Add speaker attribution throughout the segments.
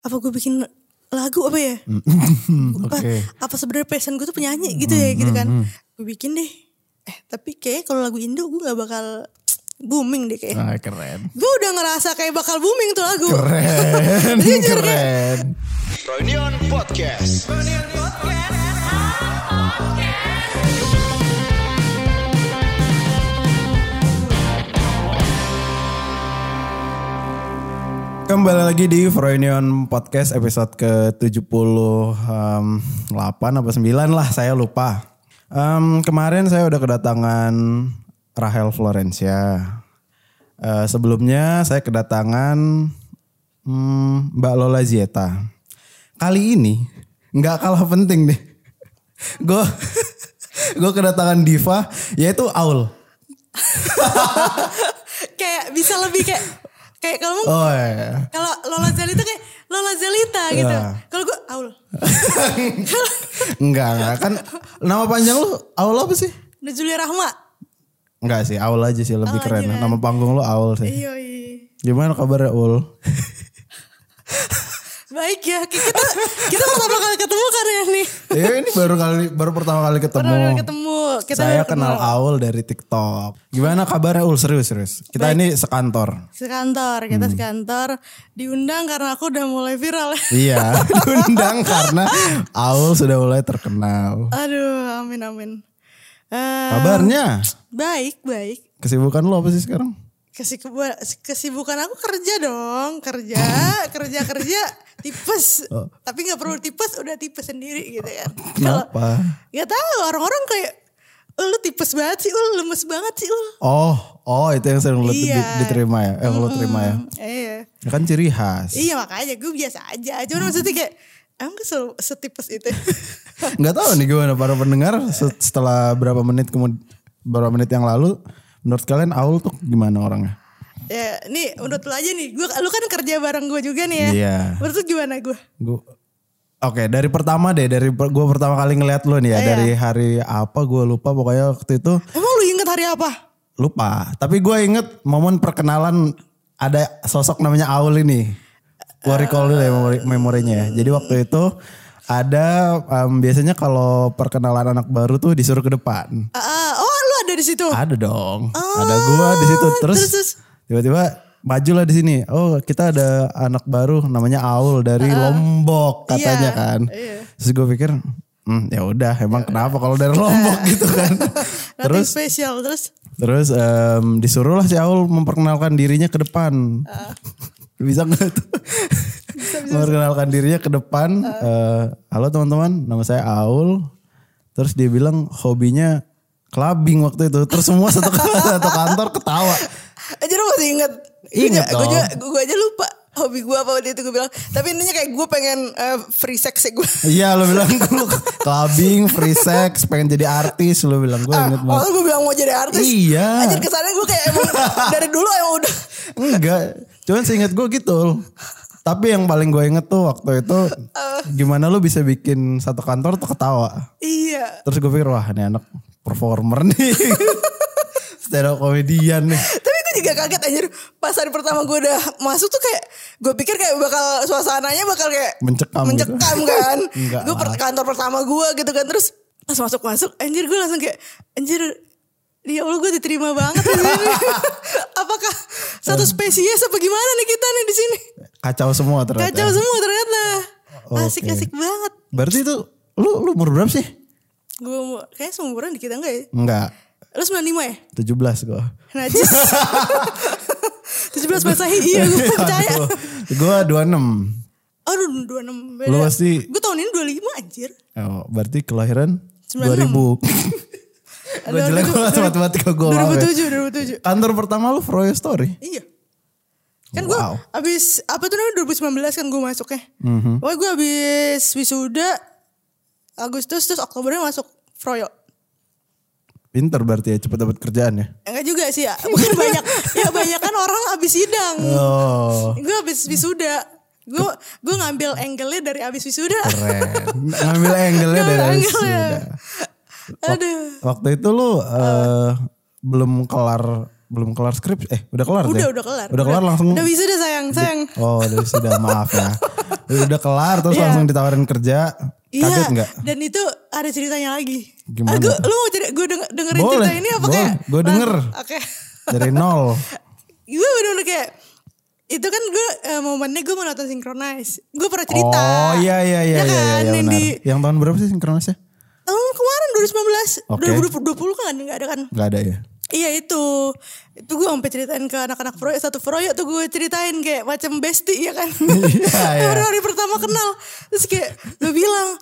Speaker 1: apa gue bikin lagu apa ya?
Speaker 2: Mm. Oke. Mm,
Speaker 1: Apa, apa sebenarnya passion gue tuh penyanyi gitu ya gitu kan? Gue bikin deh. Eh tapi kayaknya kalau lagu Indo gue nggak bakal booming deh kayak.
Speaker 2: Ah, keren.
Speaker 1: Gue udah ngerasa kayak bakal booming tuh lagu.
Speaker 2: Keren.
Speaker 1: Jujur deh.
Speaker 2: keren.
Speaker 3: Reunion Podcast.
Speaker 2: Kembali lagi di Froynion Podcast episode ke-78 um, apa 9 lah saya lupa. Em, kemarin saya udah kedatangan Rahel Florencia. Eh, sebelumnya saya kedatangan hmm, Mbak Lola Zieta. Kali ini nggak kalah penting deh. Gue gue kedatangan diva yaitu Aul.
Speaker 1: kayak bisa lebih kayak kayak kalau
Speaker 2: Oh iya.
Speaker 1: kalau Lola Zelita kayak Lola Zelita gitu.
Speaker 2: Ya.
Speaker 1: Kalau gue Aul
Speaker 2: Enggak, enggak kan nama panjang lu Aul apa sih?
Speaker 1: Nujulia Rahma.
Speaker 2: Enggak sih, Aul aja sih lebih
Speaker 1: Aul
Speaker 2: keren.
Speaker 1: aja kan?
Speaker 2: Nama panggung lu Aul sih.
Speaker 1: Iya iya.
Speaker 2: Gimana kabarnya Aul?
Speaker 1: Baik ya, kita kita pertama kali ketemu karena nih.
Speaker 2: ya ini baru kali baru pertama kali ketemu.
Speaker 1: Pertama kali ketemu. Kita
Speaker 2: Saya
Speaker 1: baru ketemu.
Speaker 2: kenal Aul dari TikTok. Gimana kabarnya Aul serius serius? Kita ini sekantor.
Speaker 1: sekantor kita sekantor diundang karena aku udah mulai viral
Speaker 2: iya, diundang karena Aul sudah mulai terkenal.
Speaker 1: aduh amin amin Eh,
Speaker 2: Kabarnya?
Speaker 1: baik baik
Speaker 2: Kesibukan lu apa sih sekarang?
Speaker 1: Kesibukan, kesibukan aku kerja dong kerja kerja kerja tipes tapi nggak perlu tipes udah tipes sendiri gitu kan
Speaker 2: Nah.
Speaker 1: Kalau-
Speaker 2: Kenapa?
Speaker 1: nggak tahu orang-orang kayak "Eh, lu tipes banget sih lu lemes banget sih lu
Speaker 2: Oh, oh itu yang sering lu
Speaker 1: Iya.
Speaker 2: di- diterima ya? Eh, lu terima ya?
Speaker 1: iya
Speaker 2: Ya kan ciri khas.
Speaker 1: iya makanya gue biasa aja cuman maksudnya kayak aku nggak se- setipes itu
Speaker 2: nggak tahu nih gimana para pendengar se- setelah berapa menit kemudian berapa menit yang lalu menurut kalian Aul tuh gimana orangnya?
Speaker 1: Ya, nih menurut lu aja nih, gua lu kan kerja bareng gue juga nih ya.
Speaker 2: Iya.
Speaker 1: Menurut lu gimana gue?
Speaker 2: Gu- Oke, dari pertama deh, dari per- gua pertama kali ngeliat lo nih ya, dari hari apa gua lupa pokoknya waktu itu
Speaker 1: Emang lu inget hari apa?
Speaker 2: lupa. Tapi gua inget momen perkenalan ada sosok namanya Aul ini. Gua recall dulu ya memori- memorinya. ya. Jadi waktu itu ada em, biasanya kalau perkenalan anak baru tuh disuruh ke depan.
Speaker 1: Ah, ah, oh lu ada di situ.
Speaker 2: Ada dong. ada gua di situ terus,
Speaker 1: Oh, terus, terus.
Speaker 2: tiba-tiba majulah di sini. Oh, kita ada anak baru namanya Aul dari Lombok katanya
Speaker 1: Ah, Iya,
Speaker 2: kan. Terus gue pikir, hmm, ya udah emang kenapa kalau dari Lombok gitu kan.
Speaker 1: Nothing
Speaker 2: terus
Speaker 1: spesial terus.
Speaker 2: terus em, disuruhlah si Aul memperkenalkan dirinya ke depan.
Speaker 1: Ah.
Speaker 2: bisa nggak tuh? memperkenalkan dirinya ke depan.
Speaker 1: Ah.
Speaker 2: Eh, Halo teman-teman, nama saya Aul. Terus dia bilang hobinya clubbing waktu itu. Terus semua satu, satu kantor ketawa.
Speaker 1: Eh, Jadi lu masih inget.
Speaker 2: Ingat
Speaker 1: Gue
Speaker 2: dong.
Speaker 1: juga, gue aja lupa hobi gue apa waktu itu gue bilang. Tapi intinya kayak gue pengen eh, free sex ya gue.
Speaker 2: Iya lo bilang lu clubbing, free sex, pengen jadi artis. Lo bilang gue inget banget.
Speaker 1: Awalnya gue bilang mau jadi Ah, artis.
Speaker 2: Iya.
Speaker 1: Anjir kesannya gue kayak emang dari dulu emang udah.
Speaker 2: Enggak, cuman seingat gue gitu. Tapi yang paling gue inget tuh waktu itu gimana lu bisa bikin satu kantor tuh ketawa.
Speaker 1: Iya.
Speaker 2: Terus gue pikir wah ini anak performer nih. Stand up comedian nih.
Speaker 1: Tapi gue juga kaget anjir pas hari pertama gue udah masuk tuh kayak gue pikir kayak bakal suasananya bakal kayak
Speaker 2: Mencekam gitu.
Speaker 1: mencekam kan.
Speaker 2: Enggak
Speaker 1: gue per,
Speaker 2: lah.
Speaker 1: kantor pertama gue gitu kan terus pas masuk masuk anjir gue langsung kayak anjir ya Allah gue diterima banget di sini. Apakah satu spesies apa gimana nih kita nih di sini?
Speaker 2: Kacau semua ternyata.
Speaker 1: Kacau semua ternyata.
Speaker 2: Oke.
Speaker 1: Asik-asik banget.
Speaker 2: Berarti itu lu lu umur berapa sih?
Speaker 1: Gue kayak seumuran dikit enggak ya?
Speaker 2: Enggak,
Speaker 1: Lu 95 ya?
Speaker 2: 17 gue.
Speaker 1: Najis. 17 Masehi iya gue percaya.
Speaker 2: gue 26.
Speaker 1: Aduh 26 beda.
Speaker 2: Lu pasti-
Speaker 1: Gue tahun ini 25 anjir.
Speaker 2: Oh, berarti kelahiran
Speaker 1: 96.
Speaker 2: 2000. gue jelek banget matematika ya. gue.
Speaker 1: 2007, 2007.
Speaker 2: Kantor pertama lu Froyo Story.
Speaker 1: Iya. Kan gue
Speaker 2: Wow. Mhm.
Speaker 1: abis, apa tuh namanya 2019 kan gue masuknya. Pokoknya gue abis wisuda Agustus terus Oktobernya masuk Froyo.
Speaker 2: Pinter berarti ya cepet dapat kerjaan ya.
Speaker 1: Enggak juga sih ya. Bukan banyak. ya banyak kan orang abis sidang.
Speaker 2: Oh
Speaker 1: Gue abis wisuda. Gue gue ngambil angle-nya dari abis wisuda.
Speaker 2: keren. Ngambil angle-nya
Speaker 1: Ngambil
Speaker 2: dari
Speaker 1: angle-nya.
Speaker 2: wisuda.
Speaker 1: Aduh.
Speaker 2: Waktu itu lu eh, belum kelar belum kelar skrip eh udah kelar
Speaker 1: Udah
Speaker 2: deh.
Speaker 1: udah kelar.
Speaker 2: Udah kelar langsung.
Speaker 1: Udah wisuda sayang, sayang.
Speaker 2: Oh udah sudah maaf ya. udah kelar terus
Speaker 1: Iya.
Speaker 2: langsung ditawarin kerja. Kaget
Speaker 1: Iya,
Speaker 2: nggak?
Speaker 1: dan itu ada ceritanya lagi. Ah,
Speaker 2: Gimana
Speaker 1: gua-
Speaker 2: tuh?
Speaker 1: lu mau ceri- gua denger- dengerin
Speaker 2: Boleh,
Speaker 1: cerita ini apa
Speaker 2: boleh.
Speaker 1: kayak?
Speaker 2: Gua denger.
Speaker 1: Lang- Oke.
Speaker 2: Dari nol.
Speaker 1: gue bener-bener kayak, itu kan gue momennya gue mau nonton Synchronize. Gue pernah cerita.
Speaker 2: Oh iya iya
Speaker 1: Ya
Speaker 2: iya iya,
Speaker 1: kan,
Speaker 2: iya,
Speaker 1: yang
Speaker 2: benar.
Speaker 1: di
Speaker 2: Yang tahun berapa sih sinkronisnya?
Speaker 1: tahun kemarin 2019,
Speaker 2: Oke.
Speaker 1: 2020 kan nggak ada kan?
Speaker 2: Gak ada ya.
Speaker 1: Iya itu Itu gue sampai ceritain ke anak-anak proyek Satu proyek tuh gue ceritain kayak macam bestie ya kan
Speaker 2: Iya, iya.
Speaker 1: Hari-hari pertama kenal Terus kayak gue bilang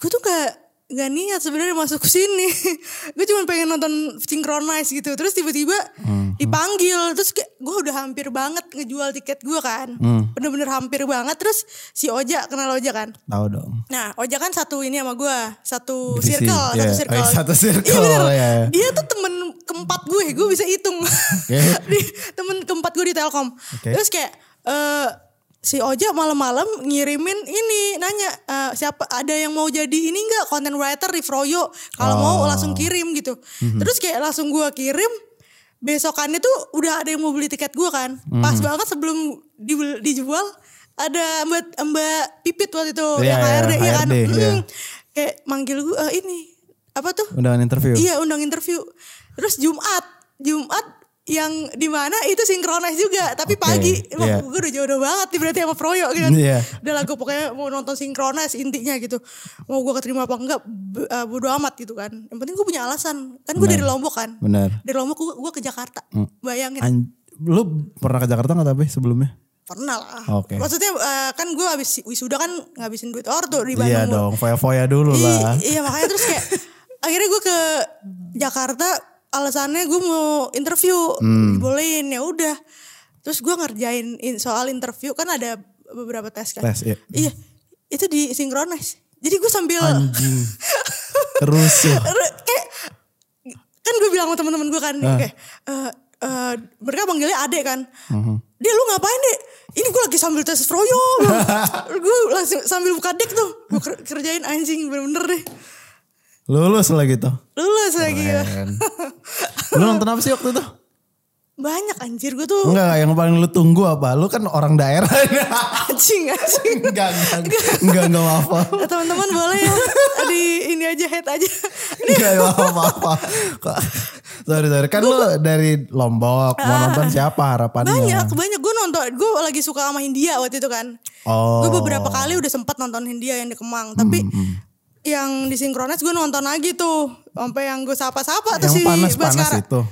Speaker 1: Gue tuh gak, gak niat sebenarnya masuk sini Gue cuma pengen nonton Synchronize gitu Terus tiba-tiba
Speaker 2: Hmm.
Speaker 1: dipanggil Terus kayak gue udah hampir banget ngejual tiket gue kan
Speaker 2: Hmm.
Speaker 1: Bener-bener hampir banget Terus si Oja kenal Oja kan
Speaker 2: Tahu dong.
Speaker 1: Nah, Oja kan satu ini sama gue, satu
Speaker 2: Divisi,
Speaker 1: circle, satu
Speaker 2: iya.
Speaker 1: circle.
Speaker 2: Oh, satu circle,
Speaker 1: Iya bener.
Speaker 2: iya.
Speaker 1: Dia tuh temen keempat gue, gue bisa hitung. Di- temen keempat gue di Telkom.
Speaker 2: Oke.
Speaker 1: Terus kayak eh, si Oja malam-malam ngirimin ini, nanya eh, siapa ada yang mau jadi ini nggak content writer di Froyo? Kalau mau
Speaker 2: Oh.
Speaker 1: langsung kirim gitu.
Speaker 2: Mhm.
Speaker 1: Terus kayak langsung gue kirim. Besokannya tuh udah ada yang mau beli tiket gue kan. Pas
Speaker 2: Mhm.
Speaker 1: banget sebelum dibel- dijual ada Mbak Mbak Pipit waktu itu yang
Speaker 2: Iya, iya,
Speaker 1: HRD ya kan.
Speaker 2: HRD,
Speaker 1: Mm.
Speaker 2: iya.
Speaker 1: Kayak manggil gue "Eh, ini apa tuh?
Speaker 2: Undangan interview.
Speaker 1: Iya undang interview. Terus Jumat, Jumat yang di mana itu sinkronis juga, tapi
Speaker 2: Oke,
Speaker 1: pagi. Emang
Speaker 2: iya.
Speaker 1: gue udah jodoh banget nih berarti sama Proyo gitu.
Speaker 2: Iya.
Speaker 1: Udah lah gue pokoknya mau nonton sinkronis intinya gitu. Mau gue keterima apa enggak b- eh, bodo amat gitu kan. Yang penting gue punya alasan. Kan gue
Speaker 2: Benar.
Speaker 1: dari Lombok kan.
Speaker 2: Benar. Mm.
Speaker 1: Dari Lombok gue, gue ke Jakarta. Bayangin.
Speaker 2: An- lu pernah ke Jakarta nggak tapi sebelumnya?
Speaker 1: Pernah lah.
Speaker 2: Oke.
Speaker 1: Maksudnya eh, kan gue habis wisuda kan ngabisin duit orto di Bandung.
Speaker 2: Iya dong, foya-foya dulu lah.
Speaker 1: I- iya makanya terus kayak akhirnya gue ke Jakarta alasannya gue mau interview
Speaker 2: Hmm.
Speaker 1: bolehin ya udah terus gue ngerjain in- soal interview kan ada beberapa tes kan
Speaker 2: Tes, iya.
Speaker 1: iya itu di synchronize jadi gue sambil
Speaker 2: Anjing. Terus ya.
Speaker 1: Terus kayak kan gue bilang sama teman-teman gue kan kayak eh, eh, mereka manggilnya adek kan
Speaker 2: Hmm.
Speaker 1: dia lu ngapain deh ini gue lagi sambil tes froyo gue langsung sambil buka dek tuh gue ker- kerjain anjing bener-bener deh
Speaker 2: Lulus lah gitu.
Speaker 1: lulus lagi gue.
Speaker 2: Lu nonton apa sih waktu itu?
Speaker 1: banyak anjir gue tuh
Speaker 2: Enggak, yang paling lu tunggu apa? Lu kan orang daerah.
Speaker 1: anjing anjing
Speaker 2: enggak, enggak, enggak, enggak apa.
Speaker 1: Nah, teman-teman boleh ya di ini aja head aja
Speaker 2: Enggak apa-apa. Kok- Sorry, sorry. Kan lu dari Lombok, mau nonton siapa harapannya?
Speaker 1: Ah. banyak banyak gue nonton gue lagi suka sama Hindia waktu itu kan
Speaker 2: Oh. Hmm,
Speaker 1: gue beberapa kali udah sempat nonton Hindia yang di Kemang tapi yang di sinkronis gue nonton lagi tuh sampai yang gue sapa-sapa tuh
Speaker 2: Yang
Speaker 1: si
Speaker 2: panas-panas
Speaker 1: Baskara
Speaker 2: itu.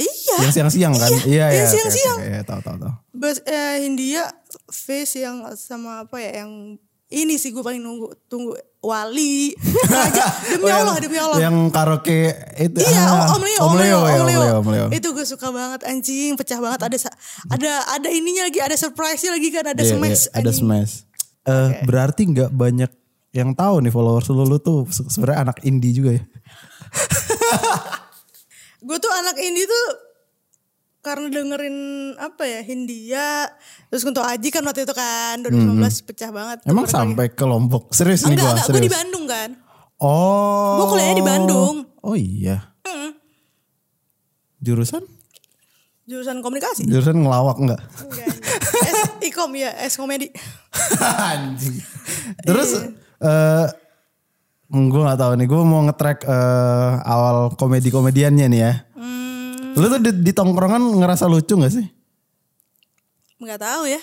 Speaker 1: iya
Speaker 2: Yang siang-siang kan? Iya, iya.
Speaker 1: yang
Speaker 2: oke,
Speaker 1: siang-siang
Speaker 2: oke, Iya, tahu, tahu, tahu.
Speaker 1: Bas- eh, Hindia face yang sama apa ya yang ini sih gue paling nunggu tunggu Wali Raja demi
Speaker 2: Oh, yang-
Speaker 1: Allah demi Allah
Speaker 2: Yang karaoke itu.
Speaker 1: Iya,
Speaker 2: ah,
Speaker 1: Om- Om Leo, Om Leo,
Speaker 2: ya,
Speaker 1: Om Leo.
Speaker 2: Om Leo.
Speaker 1: Itu gue suka banget anjing, pecah banget ada sa- ada ada ininya lagi, ada surprise-nya lagi kan, ada
Speaker 2: Iya,
Speaker 1: smash.
Speaker 2: iya, ada
Speaker 1: anjing.
Speaker 2: smash. Eh, berarti nggak banyak yang tahu nih followers lu, lu tuh se- sebenarnya anak indie juga ya.
Speaker 1: Gue tuh anak indie tuh karena dengerin apa ya Hindia terus untuk Aji kan waktu itu kan 2019 pecah banget tuh
Speaker 2: Hmm, Emang
Speaker 1: mereka.
Speaker 2: sampai ke Lombok. Serius nih
Speaker 1: enggak
Speaker 2: gua,
Speaker 1: enggak gue
Speaker 2: serius.
Speaker 1: di Bandung kan
Speaker 2: Oh.
Speaker 1: Gua kuliahnya di Bandung.
Speaker 2: Oh iya.
Speaker 1: Mm,
Speaker 2: Jurusan?
Speaker 1: jurusan komunikasi
Speaker 2: Jurusan ngelawak enggak?
Speaker 1: Enggak, enggak. es ikom ya es komedi
Speaker 2: Anjing. Terus eh
Speaker 1: Iya.
Speaker 2: gue gak tahu nih, gue mau nge-track eh, awal komedi-komediannya nih ya.
Speaker 1: Mm. Hmm,
Speaker 2: Lu tuh di, di tongkrongan ngerasa lucu gak sih?
Speaker 1: nggak tahu ya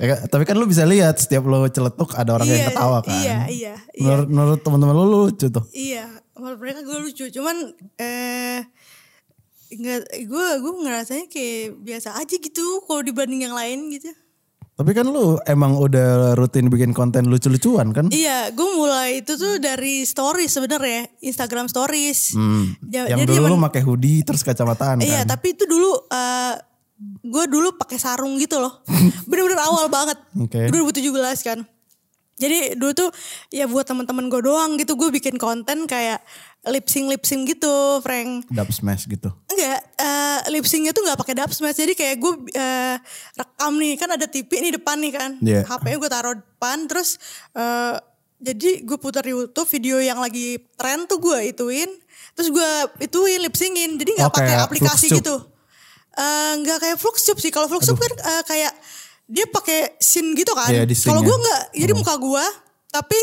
Speaker 2: Ya kan? tapi kan lu bisa lihat setiap lu celetuk ada orang yang
Speaker 1: Iya,
Speaker 2: ketawa kan.
Speaker 1: iya, iya, iya.
Speaker 2: Menurut, menurut teman-teman lu, lu lucu tuh.
Speaker 1: Iya, menurut mereka gue lucu. Cuman eh nggak gue gue ngerasanya kayak biasa aja gitu kalau dibanding yang lain gitu.
Speaker 2: Tapi kan lu emang udah rutin bikin konten lucu-lucuan kan?
Speaker 1: Iya, gue mulai itu tuh dari stories sebenarnya, Instagram stories. Ja-
Speaker 2: Hmm. yang
Speaker 1: Ya, jadi
Speaker 2: dulu lu
Speaker 1: zaman-
Speaker 2: pakai hoodie terus kacamataan
Speaker 1: Iya,
Speaker 2: kan.
Speaker 1: tapi itu dulu eh gue dulu pakai sarung gitu loh. Bener-bener awal banget.
Speaker 2: Oke.
Speaker 1: 2017 kan. Jadi dulu tuh ya buat teman-teman gue doang gitu gue bikin konten kayak lip sync lip sync gitu, Frank.
Speaker 2: Dub smash gitu.
Speaker 1: Enggak, eh lip syncnya tuh nggak pakai dub smash. Jadi kayak gue eh, rekam nih, kan ada TV nih depan nih kan.
Speaker 2: Iya.
Speaker 1: HP-nya gue taruh depan, terus eh jadi gue putar di YouTube video yang lagi tren tuh gue ituin. Terus gue ituin lip syncin, jadi nggak
Speaker 2: Oh,
Speaker 1: pakai
Speaker 2: kayak
Speaker 1: aplikasi
Speaker 2: FluxTube.
Speaker 1: gitu. Eh, Nggak kayak Fluxtube sih, kalau Fluxtube kan eh, kayak dia pakai scene gitu kan.
Speaker 2: Iya, di scene-nya. Hmm.
Speaker 1: Kalau gue nggak, jadi muka gue tapi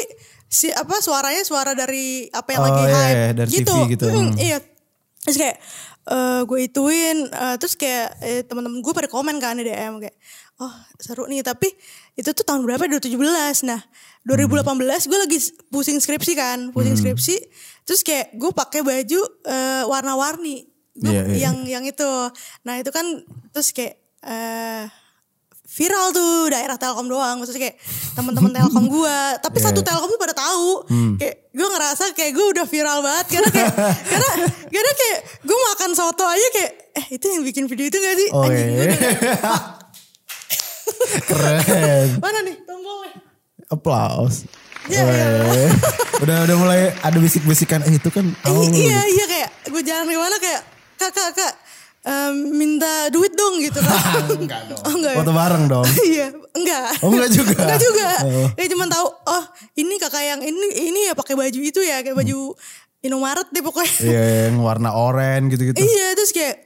Speaker 1: si apa suaranya suara dari apa yang
Speaker 2: Oh,
Speaker 1: lagi
Speaker 2: iya,
Speaker 1: hype
Speaker 2: iya, dari
Speaker 1: gitu.
Speaker 2: TV gitu.
Speaker 1: Mm,
Speaker 2: Hmm.
Speaker 1: iya. Terus kayak eh gue ituin eh, terus kayak eh, teman-teman gue pada komen kan di DM kayak oh seru nih tapi itu tuh tahun berapa 2017 nah 2018 gue lagi s- pusing skripsi kan pusing
Speaker 2: Hmm.
Speaker 1: skripsi terus kayak gue pakai baju eh, warna-warni Gua-
Speaker 2: Iya, iya.
Speaker 1: yang yang itu nah itu kan terus kayak eh viral tuh daerah Telkom doang maksudnya kayak teman-teman Telkom gua tapi satu Telkom tuh pada tahu kayak gua ngerasa kayak gua udah viral banget karena kayak karena karena kayak gua makan soto aja kayak eh itu yang bikin video itu gak sih
Speaker 2: Oke.
Speaker 1: anjing gua udah kayak,
Speaker 2: Keren.
Speaker 1: mana nih tombolnya
Speaker 2: Applause.
Speaker 1: Iya, iya.
Speaker 2: Weh. udah udah mulai ada bisik-bisikan eh, itu kan
Speaker 1: I-
Speaker 2: awal
Speaker 1: iya iya kayak gua jalan kemana kayak kak kak kak em, minta duit dong gitu kan enggak dong oh, enggak ya?
Speaker 2: foto bareng dong.
Speaker 1: iya enggak
Speaker 2: Oh, enggak juga?
Speaker 1: enggak juga
Speaker 2: Oh.
Speaker 1: ya cuma tahu oh ini kakak yang ini ini ya pakai baju itu ya kayak baju
Speaker 2: Hmm.
Speaker 1: Indomaret deh pokoknya
Speaker 2: Iya, yang warna oranye gitu-gitu.
Speaker 1: iya terus kayak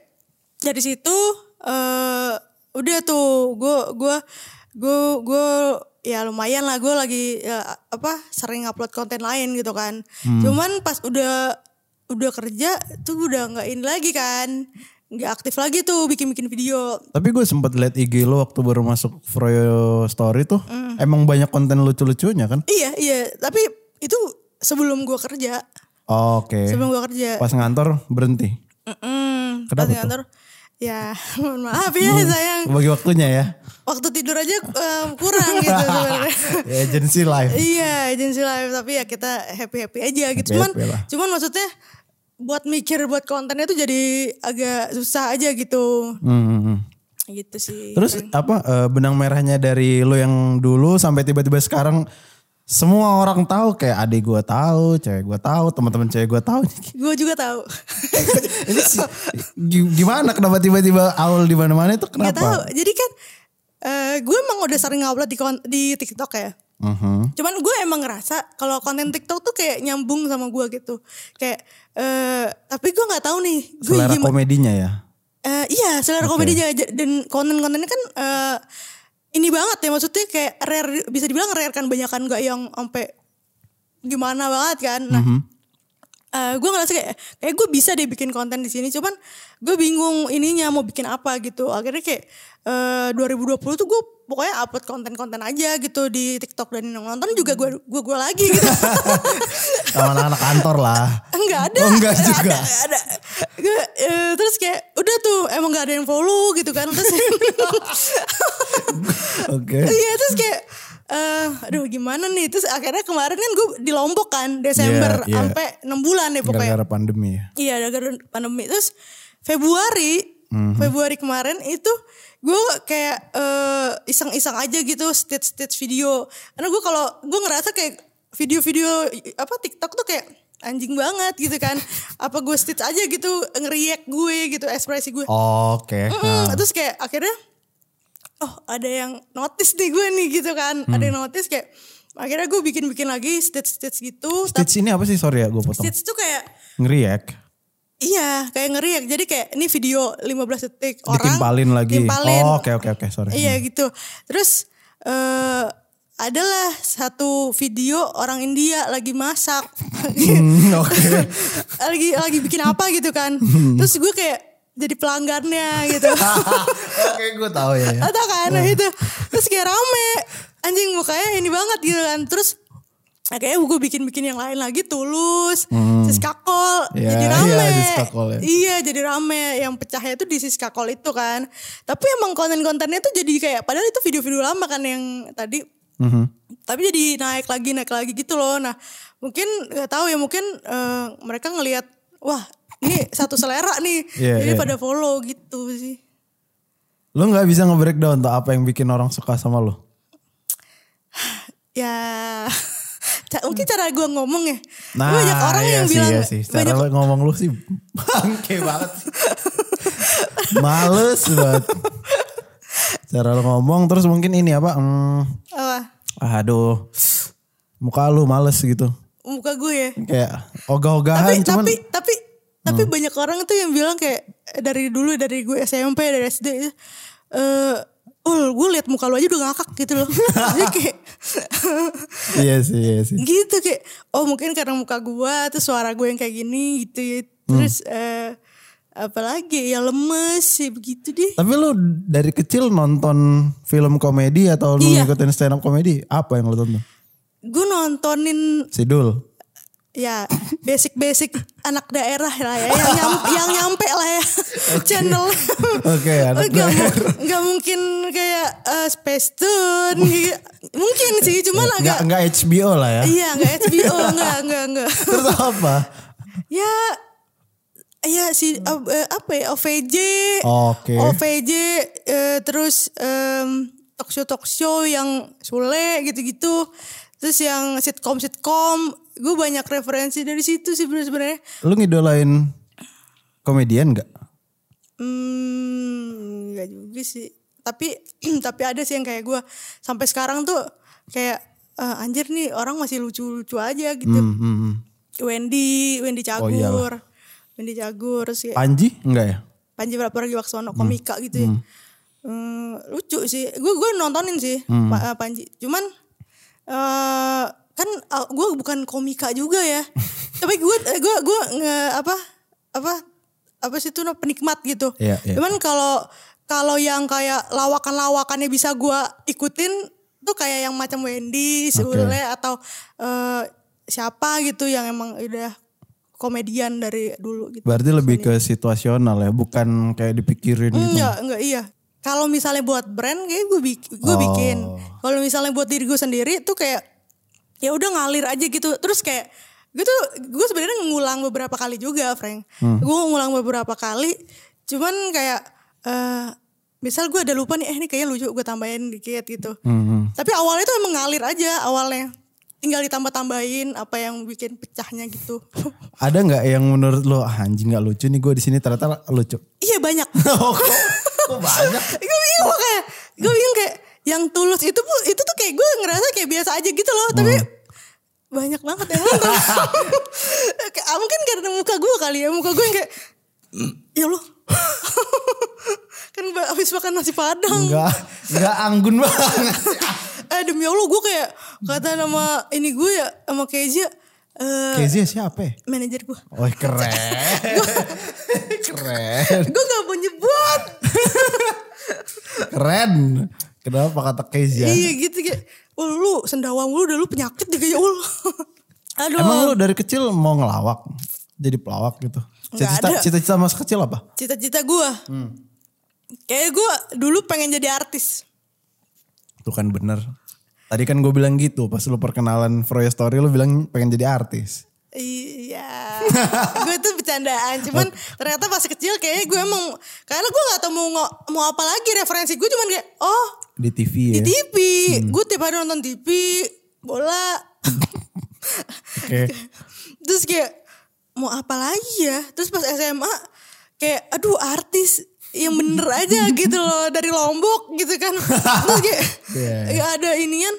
Speaker 1: dari situ eh udah tuh gue gue gue gue ya lumayan lah gue lagi ya, apa sering upload konten lain gitu kan
Speaker 2: Hmm.
Speaker 1: cuman pas udah udah kerja tuh udah nggak ini lagi kan nggak aktif lagi tuh bikin bikin video
Speaker 2: Tapi gue sempat liat IG lo waktu baru masuk Froyo Story tuh.
Speaker 1: Mm.
Speaker 2: Emang banyak konten lucu-lucunya kan?
Speaker 1: Iya, iya. Tapi itu sebelum gua kerja.
Speaker 2: Oke.
Speaker 1: Sebelum gua kerja.
Speaker 2: Pas ngantor berhenti.
Speaker 1: Mm-mm,
Speaker 2: Kenapa
Speaker 1: pas
Speaker 2: tuh? Hmm.
Speaker 1: kantor. Ya, mohon maaf ya sayang.
Speaker 2: Bagi waktunya ya.
Speaker 1: Waktu tidur aja em, kurang gitu sebenarnya.
Speaker 2: Ya, Agency life.
Speaker 1: iya, agency life tapi ya kita happy-happy aja gitu. cuman
Speaker 2: Happy-happy lah.
Speaker 1: cuman maksudnya buat mikir buat kontennya tuh jadi agak susah aja gitu.
Speaker 2: Hmm, hmm, hmm.
Speaker 1: Gitu sih.
Speaker 2: Terus apa eh, benang merahnya dari lo yang dulu sampai tiba-tiba sekarang semua orang tahu kayak adik gue tahu, cewek gue tahu, teman-teman cewek gue tahu.
Speaker 1: Gue juga tahu.
Speaker 2: Ini si- gi- gimana kenapa tiba-tiba awal di mana-mana itu
Speaker 1: Gak tahu.
Speaker 2: kenapa?
Speaker 1: Jadi kan eh gue emang udah sering upload di kon- di TikTok ya.
Speaker 2: Mhm.
Speaker 1: Cuman gue emang ngerasa kalau konten TikTok tuh kayak nyambung sama gue gitu. Kayak eh tapi gue nggak tahu nih gue
Speaker 2: Selera
Speaker 1: gimana.
Speaker 2: komedinya ya.
Speaker 1: Eh, iya, selera komedi aja dan konten-kontennya kan eh ini banget ya maksudnya kayak rare bisa dibilang rare kan banyak kan gak yang sampai gimana banget kan. Nah, eh, gue ngerasa kayak kayak gue bisa deh bikin konten di sini cuman gue bingung ininya mau bikin apa gitu akhirnya kayak eh, 2020 tuh gue pokoknya upload konten-konten aja gitu di TikTok dan yang nonton juga gue gue gue lagi gitu
Speaker 2: Sama anak-anak kantor lah.
Speaker 1: enggak ada
Speaker 2: Oh, enggak
Speaker 1: Nggak
Speaker 2: juga.
Speaker 1: ada, nggak ada. Gue, eh, terus kayak udah tuh emang gak ada yang follow gitu kan terus
Speaker 2: Oke.
Speaker 1: Iya terus kayak eh aduh gimana nih terus akhirnya kemarin kan gue di Lombok kan Desember
Speaker 2: Iya, iya.
Speaker 1: sampai 6 bulan deh pokoknya.
Speaker 2: Gara-gara pandemi ya.
Speaker 1: Iya gara-gara pandemi terus Februari Februari kemarin itu gue kayak eh, iseng-iseng aja gitu stage-stage video karena gue kalau gue ngerasa kayak video-video apa TikTok tuh kayak anjing banget gitu kan apa gue stage aja gitu ngeriak gue gitu ekspresi gue
Speaker 2: Oh, Oke.
Speaker 1: Mm-mm. Terus kayak akhirnya oh ada yang notice nih gue nih gitu kan. Ada yang notice kayak akhirnya gue bikin-bikin lagi stage-stage gitu. Tapi
Speaker 2: Nah, Stitch ini apa sih? Sorry ya gue potong.
Speaker 1: stage tuh kayak
Speaker 2: Ngeriak.
Speaker 1: iya kayak ngeriak. Jadi kayak ini video 15 detik orang.
Speaker 2: Ditimpalin lagi.
Speaker 1: timpalin.
Speaker 2: Oh, Oke oke oke sorry.
Speaker 1: Iya gitu. Terus eh adalah satu video orang India lagi masak.
Speaker 2: Hmm, Oke. Hmm.
Speaker 1: lagi lagi bikin apa gitu kan. Terus gue kayak jadi pelanggannya gitu.
Speaker 2: Oke gue tahu ya. ya.
Speaker 1: Atau kan nah itu Terus kayak rame Anjing mukanya ini banget gitu kan Terus Akhirnya gue bikin-bikin yang lain lagi Tulus Siskakol
Speaker 2: Hmm. Iya,
Speaker 1: Jadi
Speaker 2: iya,
Speaker 1: rame
Speaker 2: Siskakol ya.
Speaker 1: Iya jadi rame Yang pecahnya itu di Siskakol itu kan Tapi emang konten-kontennya tuh jadi kayak Padahal itu video-video lama kan yang tadi
Speaker 2: Mhm.
Speaker 1: tapi jadi naik lagi naik lagi gitu loh nah mungkin nggak tahu ya mungkin eh, mereka ngelihat wah ini satu selera nih
Speaker 2: Iya,
Speaker 1: jadi
Speaker 2: iya.
Speaker 1: pada follow gitu sih
Speaker 2: Lo nggak bisa nge-breakdown tuh apa yang bikin orang suka sama lo?
Speaker 1: ya ca- mungkin cara gue ngomong ya
Speaker 2: Hmm. Nah,
Speaker 1: banyak orang
Speaker 2: iya
Speaker 1: yang
Speaker 2: sih,
Speaker 1: bilang
Speaker 2: iya sih. Cara
Speaker 1: banyak
Speaker 2: lo ngomong lu sih bangke banget. sih. Males banget. Cara lo ngomong terus mungkin ini apa? Hmm,
Speaker 1: apa
Speaker 2: aduh. Muka lu males gitu.
Speaker 1: muka gue ya
Speaker 2: Kayak
Speaker 1: tapi
Speaker 2: ogah-ogahan Ah, cuman
Speaker 1: tapi
Speaker 2: Hmm.
Speaker 1: tapi tapi banyak orang tuh yang bilang kayak eh, dari dulu dari gue SMP dari SD eh Ul, gue liat muka lu aja udah ngakak gitu loh. Jadi kayak
Speaker 2: iya sih, iya sih.
Speaker 1: gitu kayak oh mungkin karena muka gue terus suara gue yang kayak gini gitu ya.
Speaker 2: Hmm.
Speaker 1: Terus eh, apalagi ya lemes sih begitu deh.
Speaker 2: Tapi lu dari kecil nonton film komedi atau lu
Speaker 1: Iya.
Speaker 2: ngikutin stand up komedi? Apa yang lu tonton?
Speaker 1: Gue nontonin
Speaker 2: Sidul.
Speaker 1: ya basic-basic anak daerah lah ya yang nyam- yang nyampe lah ya channel
Speaker 2: Oke, anak
Speaker 1: nggak mu- nggak mungkin kayak eh, Space Tune gitu. mungkin sih cuman
Speaker 2: Nggak,
Speaker 1: agak
Speaker 2: nggak HBO lah ya.
Speaker 1: iya nggak HBO nggak nggak nggak
Speaker 2: Terus apa?
Speaker 1: ya ya si ab- eh, apa ya OVJ
Speaker 2: Oke.
Speaker 1: OVJ eh, terus em talk show talk show yang Sule gitu-gitu terus yang sitcom sitcom gue banyak referensi dari situ sih bener- sebenarnya
Speaker 2: Lu ngidolain komedian gak?
Speaker 1: Hmm, nggak juga sih. Tapi tapi ada sih yang kayak gue sampai sekarang tuh kayak eh, anjir nih orang masih lucu-lucu aja gitu.
Speaker 2: Hmm, hmm, hmm.
Speaker 1: Wendy, Wendy Cagur.
Speaker 2: iyalah.
Speaker 1: Wendy Cagur terus kayak
Speaker 2: Panji? Enggak ya?
Speaker 1: Panji Pragiwaksono komika gitu
Speaker 2: Hmm.
Speaker 1: ya. Hmm, lucu sih. Gue gue nontonin sih
Speaker 2: Hmm.
Speaker 1: Pa- eh, Panji. Cuman eh kan gue bukan komika juga ya. Tapi eh, gue gue gue apa apa apa sih itu no, penikmat gitu.
Speaker 2: Iya, iya.
Speaker 1: Cuman kalau kalau yang kayak lawakan-lawakannya bisa gue ikutin tuh kayak yang macam Wendy, Sule atau eh, siapa gitu yang emang udah komedian dari dulu gitu.
Speaker 2: Berarti lebih ke situasional ya, bukan kayak dipikirin gitu.
Speaker 1: Enggak, enggak iya. Kalau misalnya buat brand kayak gue bikin, gue bikin. Kalau misalnya buat diri gue sendiri tuh kayak ya udah ngalir aja gitu. Terus kayak gue tuh gue sebenarnya ngulang beberapa kali juga, Frank. Gue ngulang beberapa kali. Cuman kayak eh misal gue ada lupa nih, eh ini kayaknya lucu gue tambahin dikit gitu.
Speaker 2: Hmm,
Speaker 1: Tapi awalnya tuh emang ngalir aja awalnya. Tinggal ditambah-tambahin apa yang bikin pecahnya gitu.
Speaker 2: Ada nggak yang menurut lo ah, anjing nggak lucu nih gue di sini ternyata lucu.
Speaker 1: iya banyak.
Speaker 2: Oh, kok, kok banyak?
Speaker 1: gue bingung loh kayak gue bingung kayak yang tulus itu pun itu tuh kayak gue ngerasa kayak biasa aja gitu loh tapi
Speaker 2: Hmm.
Speaker 1: banyak banget yang nonton Kayak, ah, mungkin karena muka gue kali ya muka gue yang kayak
Speaker 2: Hmm.
Speaker 1: ya lo kan ba- habis makan nasi padang
Speaker 2: Enggak, enggak anggun banget. Hmm.
Speaker 1: eh demi allah gue kayak kata nama ini gue ya sama Kezia eh
Speaker 2: Kezia siapa? ya?
Speaker 1: manajer gue
Speaker 2: Oh keren, keren,
Speaker 1: gue gak mau nyebut
Speaker 2: keren. Kenapa kata Kezia?
Speaker 1: iya gitu kayak "Wah, lu sendawa lu udah lu penyakit deh kayak Allah aduh
Speaker 2: Emang lu dari kecil mau ngelawak, jadi pelawak gitu. Cita-cita,
Speaker 1: ada.
Speaker 2: cita-cita mas kecil apa?
Speaker 1: cita-cita gue
Speaker 2: Hmm.
Speaker 1: kayak gue dulu pengen jadi artis
Speaker 2: Tuh kan bener. Tadi kan gue bilang gitu pas lu perkenalan Froyo Story lu bilang pengen jadi artis.
Speaker 1: iya gue tuh bercandaan cuman ternyata pas kecil kayaknya gue emang karena gue gak tau mau ngo- mau apa lagi referensi gue cuman kayak oh
Speaker 2: Di
Speaker 1: di
Speaker 2: TV ya.
Speaker 1: TV gue tiap hari nonton TV bola
Speaker 2: Oke.
Speaker 1: terus kayak mau apa lagi ya terus pas SMA kayak aduh artis yang bener aja gitu loh dari Lombok gitu kan terus kayak
Speaker 2: Yeah.
Speaker 1: nggak ada inian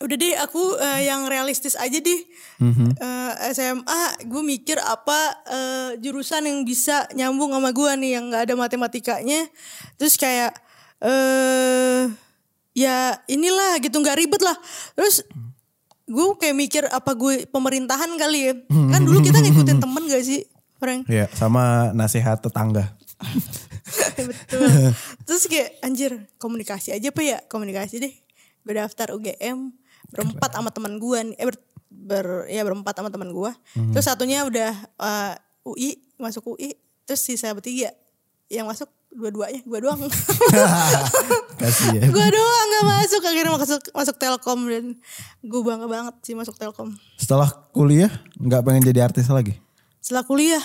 Speaker 1: udah deh aku eh, yang realistis aja deh Eh, SMA gue mikir apa eh, jurusan yang bisa nyambung sama gue nih yang nggak ada matematikanya terus kayak eh ya inilah gitu nggak ribet lah terus gue kayak mikir apa gue pemerintahan kali ya kan dulu kita ngikutin temen gak sih Frank
Speaker 2: Ya, sama nasihat tetangga.
Speaker 1: betul terus kayak anjir komunikasi aja apa ya komunikasi deh gue daftar UGM berempat sama teman gue nih eh, ber, ber- ya berempat sama teman gue terus satunya udah eh, UI masuk UI terus sisa bertiga yang masuk dua-duanya gue doang
Speaker 2: Kasih ya.
Speaker 1: gue doang gak masuk akhirnya masuk masuk Telkom dan gue bangga banget sih masuk Telkom
Speaker 2: Setelah kuliah nggak pengen jadi artis lagi.
Speaker 1: setelah kuliah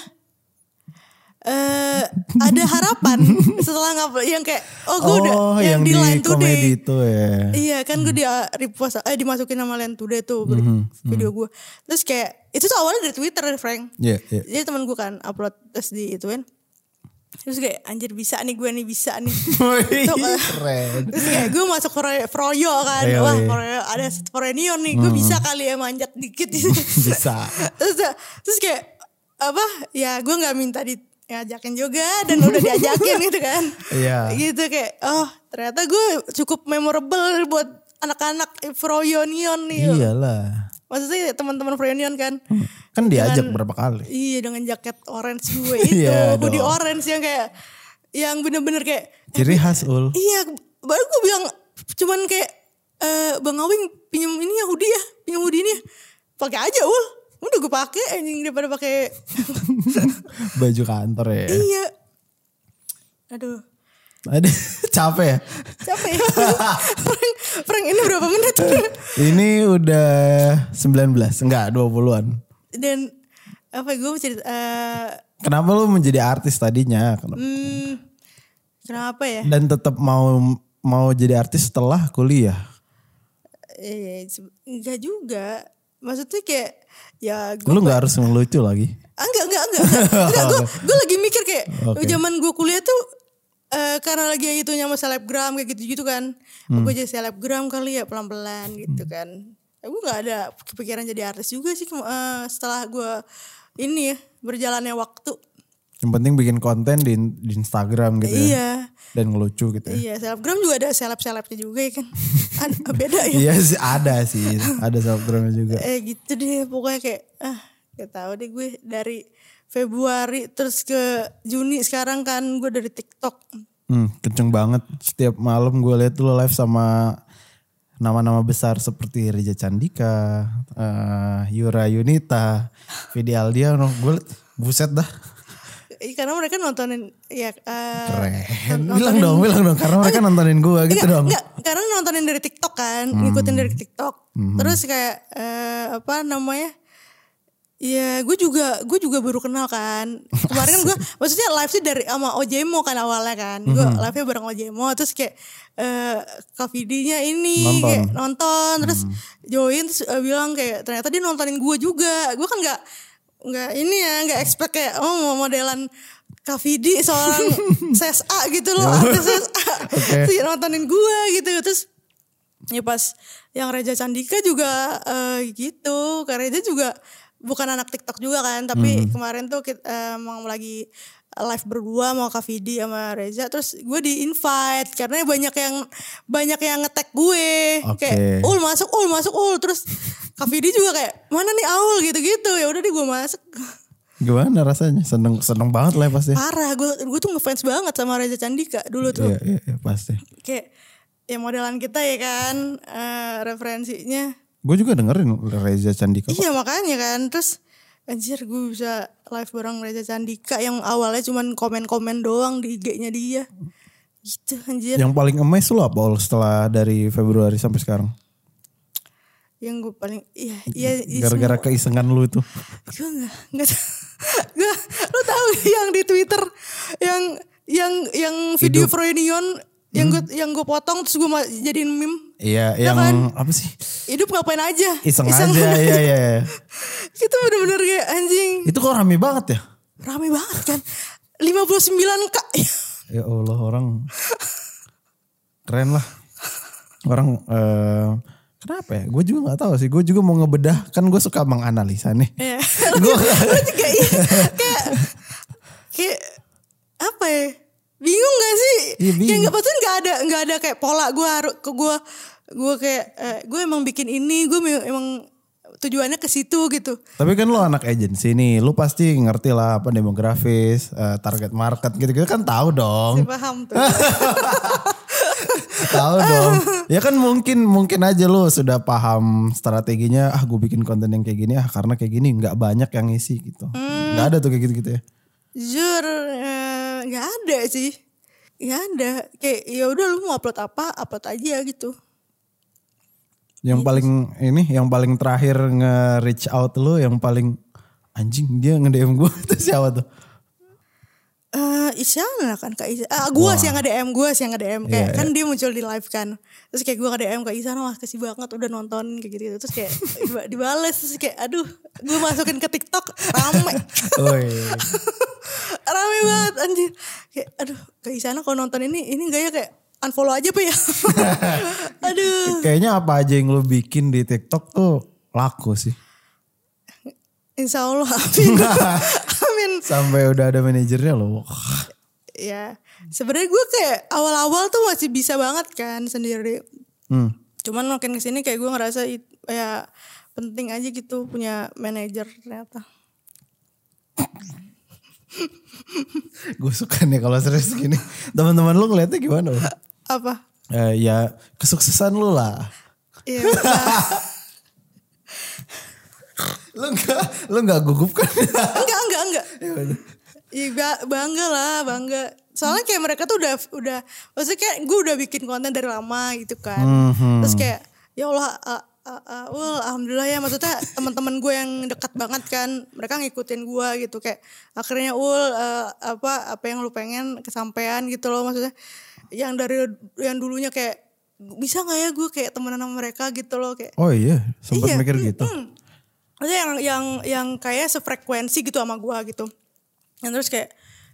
Speaker 1: eh ada harapan setelah ngap yang kayak oh gue udah yang, di line today
Speaker 2: komedi itu ya.
Speaker 1: iya kan gue di repost eh dimasukin sama line today tuh ber-
Speaker 2: Hmm,
Speaker 1: video gue terus kayak itu tuh awalnya dari twitter Frank
Speaker 2: Iya, iya.
Speaker 1: jadi teman gue kan upload terus di ituin terus kayak anjir bisa nih gue nih bisa nih
Speaker 2: Wih,
Speaker 1: Tuh, eh.
Speaker 2: Keren.
Speaker 1: terus kayak gue masuk Fro- Froyo kan
Speaker 2: Iya, Hmm.
Speaker 1: wah
Speaker 2: iya.
Speaker 1: Froyo ada Fronion nih gue bisa kali ya manjat dikit
Speaker 2: Bisa.
Speaker 1: terus terus kayak apa ya gue nggak minta di ngajakin juga dan udah diajakin gitu kan.
Speaker 2: Iya.
Speaker 1: Gitu kayak oh ternyata gue cukup memorable buat anak-anak Froyonion nih.
Speaker 2: Iya. Iyalah.
Speaker 1: Maksudnya teman-teman Froyonion kan.
Speaker 2: Kan diajak berapa kali.
Speaker 1: Iya dengan jaket orange gue itu,
Speaker 2: Iya
Speaker 1: hoodie
Speaker 2: dong.
Speaker 1: orange yang kayak yang bener-bener kayak
Speaker 2: Ciri khas ul.
Speaker 1: iya baru gue bilang cuman kayak eh Bang Awing pinjam ini ya hoodie ya, pinjam hoodie ini ya. Pakai aja ul. Udah gue pakai anjing daripada pakai
Speaker 2: Baju kantor ya.
Speaker 1: iya. Aduh.
Speaker 2: Ada capek ya.
Speaker 1: Capek ya. Frank, Frank ini berapa menit?
Speaker 2: Ini udah 19, enggak 20-an.
Speaker 1: Dan apa gue mau cerita eh,
Speaker 2: Kenapa lu menjadi artis tadinya? Kenapa-
Speaker 1: hmm, kenapa ya?
Speaker 2: Dan tetap mau mau jadi artis setelah kuliah.
Speaker 1: Eh, se- enggak juga. Maksudnya kayak ya gue
Speaker 2: Lu nggak harus ngelucu lagi.
Speaker 1: Ah, enggak enggak enggak enggak gue gue lagi mikir kayak
Speaker 2: Oke.
Speaker 1: zaman gue kuliah tuh eh, karena lagi itunya sama selebgram kayak gitu gitu kan
Speaker 2: Hmm.
Speaker 1: gue jadi selebgram kali ya pelan pelan gitu kan Eh, gue nggak ada kepikiran jadi artis juga sih kem- eh, setelah gue ini ya berjalannya waktu
Speaker 2: Yang penting bikin konten di, di Instagram gitu ya.
Speaker 1: iya
Speaker 2: Dan ngelucu gitu ya.
Speaker 1: iya selebgram juga ada seleb selebnya juga ya kan Ada- beda ya
Speaker 2: Iya sih ada sih, ada selebgramnya juga.
Speaker 1: eh gitu deh pokoknya kayak ah gak tahu deh gue dari Februari terus ke Juni sekarang kan gue dari TikTok
Speaker 2: Hmm, kenceng banget. Setiap malam gue lihat lu live sama nama-nama besar seperti Reza Candika, eh, Yura Yunita, Vidi Aldiano. Gue liat, buset dah.
Speaker 1: Ih, Iya, karena mereka nontonin ya eh,
Speaker 2: Keren.
Speaker 1: nontonin-
Speaker 2: Bilang dong, bilang dong. Karena mereka nontonin gue
Speaker 1: Enggak,
Speaker 2: gitu dong. Hmm.
Speaker 1: enggak, karena nontonin dari TikTok kan, ngikutin dari TikTok. Terus kayak eh, apa namanya? Ya, gue juga gue juga baru kenal kan. Kemarin kan gue maksudnya live sih dari sama Ojemo kan awalnya kan. Gue
Speaker 2: Mm-hmm.
Speaker 1: live-nya bareng Ojemo terus kayak eh nya ini
Speaker 2: Nonton. Mm-hmm.
Speaker 1: kayak nonton terus join terus eh, bilang kayak ternyata dia nontonin gue juga. Gue kan nggak nggak ini ya nggak expect kayak oh mau modelan Kavidi seorang CSA gitu loh artis CSA
Speaker 2: Ya. Oke.
Speaker 1: Terus dia nontonin gue gitu terus ya pas yang Reza Candika juga eh, gitu karena Reza juga bukan anak TikTok juga kan tapi
Speaker 2: Hmm.
Speaker 1: kemarin tuh kita emang lagi live berdua mau Kak Vidi sama Reza terus gue di invite karena banyak yang banyak yang ngetek gue
Speaker 2: Oke.
Speaker 1: kayak ul masuk ul masuk ul terus Kak Vidi juga kayak mana nih Aul gitu-gitu ya udah deh gue masuk
Speaker 2: Eh. Gimana rasanya? Seneng seneng banget lah ya pasti.
Speaker 1: parah gue gue tuh ngefans banget sama Reza Candika dulu tuh
Speaker 2: Iya, iya, iya, pasti.
Speaker 1: kayak ya modelan kita ya kan eh, referensinya
Speaker 2: Gue juga dengerin Reza Candika. kok.
Speaker 1: iya makanya kan terus anjir gue bisa live bareng Reza Candika yang awalnya cuman komen-komen doang di IG-nya dia gitu anjir
Speaker 2: Yang paling amazed lu apa Ol, setelah dari Februari sampai sekarang?
Speaker 1: yang gue paling iya iya iya semua-
Speaker 2: Gara-gara keisengan lu itu.
Speaker 1: gue nggak nggak tahu. Nggak, lu tahu yang di Twitter yang yang yang video
Speaker 2: Hidup. Hmm.
Speaker 1: Froynion yang gue yang gue potong terus gue ma- jadiin meme
Speaker 2: Iya,
Speaker 1: Ya
Speaker 2: yang
Speaker 1: kan?
Speaker 2: apa sih?
Speaker 1: hidup ngapain aja
Speaker 2: Iseng, aja, iya, iya. iya.
Speaker 1: itu bener-bener kayak anjing
Speaker 2: Itu kok rame banget ya?
Speaker 1: rame banget kan 59 kak
Speaker 2: Ya Allah orang keren lah. Orang eh, kenapa ya? Gue juga nggak tahu sih. Gue juga mau ngebedah. Kan gue suka menganalisa nih.
Speaker 1: ya
Speaker 2: Gue
Speaker 1: Lu juga iya kayak kayak apa ya bingung gak sih
Speaker 2: Iya, bingung.
Speaker 1: kayak nggak maksudnya nggak ada nggak ada kayak pola gue harus ke gue gue kayak eh, gue emang bikin ini gue me- emang tujuannya ke situ gitu
Speaker 2: Tapi kan lo anak agensi nih, lo pasti ngerti lah apa demografis, eh, target market gitu-gitu kan tahu dong,
Speaker 1: Saya paham tuh
Speaker 2: tahu dong. Ya kan mungkin mungkin aja lo sudah paham strateginya. Ah gue bikin konten yang kayak gini, ah karena kayak gini nggak banyak yang ngisi gitu, nggak ada tuh kayak gitu-gitu ya.
Speaker 1: jujur eh, nggak ada sih nggak ada kayak ya udah lu mau upload apa upload aja gitu
Speaker 2: Yang paling ini, yang paling terakhir nge-reach out lo, yang paling anjing dia nge-DM gue itu siapa tuh?
Speaker 1: Eh, Isyana kan Kak Isyana. Ah, gue sih yang nge-DM, gue sih yang nge-DM. Kayak, kan dia muncul di live kan. Terus kayak gue nge-DM Kak Isyana, wah kasih banget udah nonton kayak gitu. Terus kayak diba- dibales, terus kayak aduh gue masukin ke TikTok, rame.
Speaker 2: Woi,
Speaker 1: rame banget anjir. Kayak aduh Kak Isyana kalau nonton ini, ini gak ya kayak unfollow aja Pak ya. aduh.
Speaker 2: kayaknya apa aja yang lo bikin di TikTok tuh laku sih.
Speaker 1: Insya Allah amin. amin ngikutin.
Speaker 2: Sampai udah ada manajernya loh.
Speaker 1: Ya, sebenarnya gue kayak awal-awal tuh masih bisa banget kan sendiri.
Speaker 2: Hmm.
Speaker 1: Cuman makin kesini kayak gue ngerasa it, ya penting aja gitu punya manajer ternyata.
Speaker 2: Gue suka nih kalau serius gini. Teman-teman lu ngeliatnya gimana? Bang?
Speaker 1: Apa?
Speaker 2: Eh, ya kesuksesan lu lah.
Speaker 1: Iya. nah,
Speaker 2: Lu nggak lu nggak gugup kan?
Speaker 1: enggak, enggak, enggak. Iya ba- bangga lah, bangga. Soalnya kayak mereka tuh udah udah maksudnya kayak gue udah bikin konten dari lama gitu kan.
Speaker 2: Hmm,
Speaker 1: Terus kayak ya Allah uh, uh, uh, well, alhamdulillah ya maksudnya teman-teman gue yang dekat banget kan mereka ngikutin gue gitu kayak akhirnya ul uh, apa apa yang lu pengen kesampaian gitu loh maksudnya yang dari yang dulunya kayak bisa nggak ya gue kayak temenan sama mereka gitu loh kayak
Speaker 2: oh iya,
Speaker 1: Iya,
Speaker 2: sempat mikir gitu.
Speaker 1: maksudnya yang yang yang kayak sefrekuensi gitu sama gua gitu dan terus kayak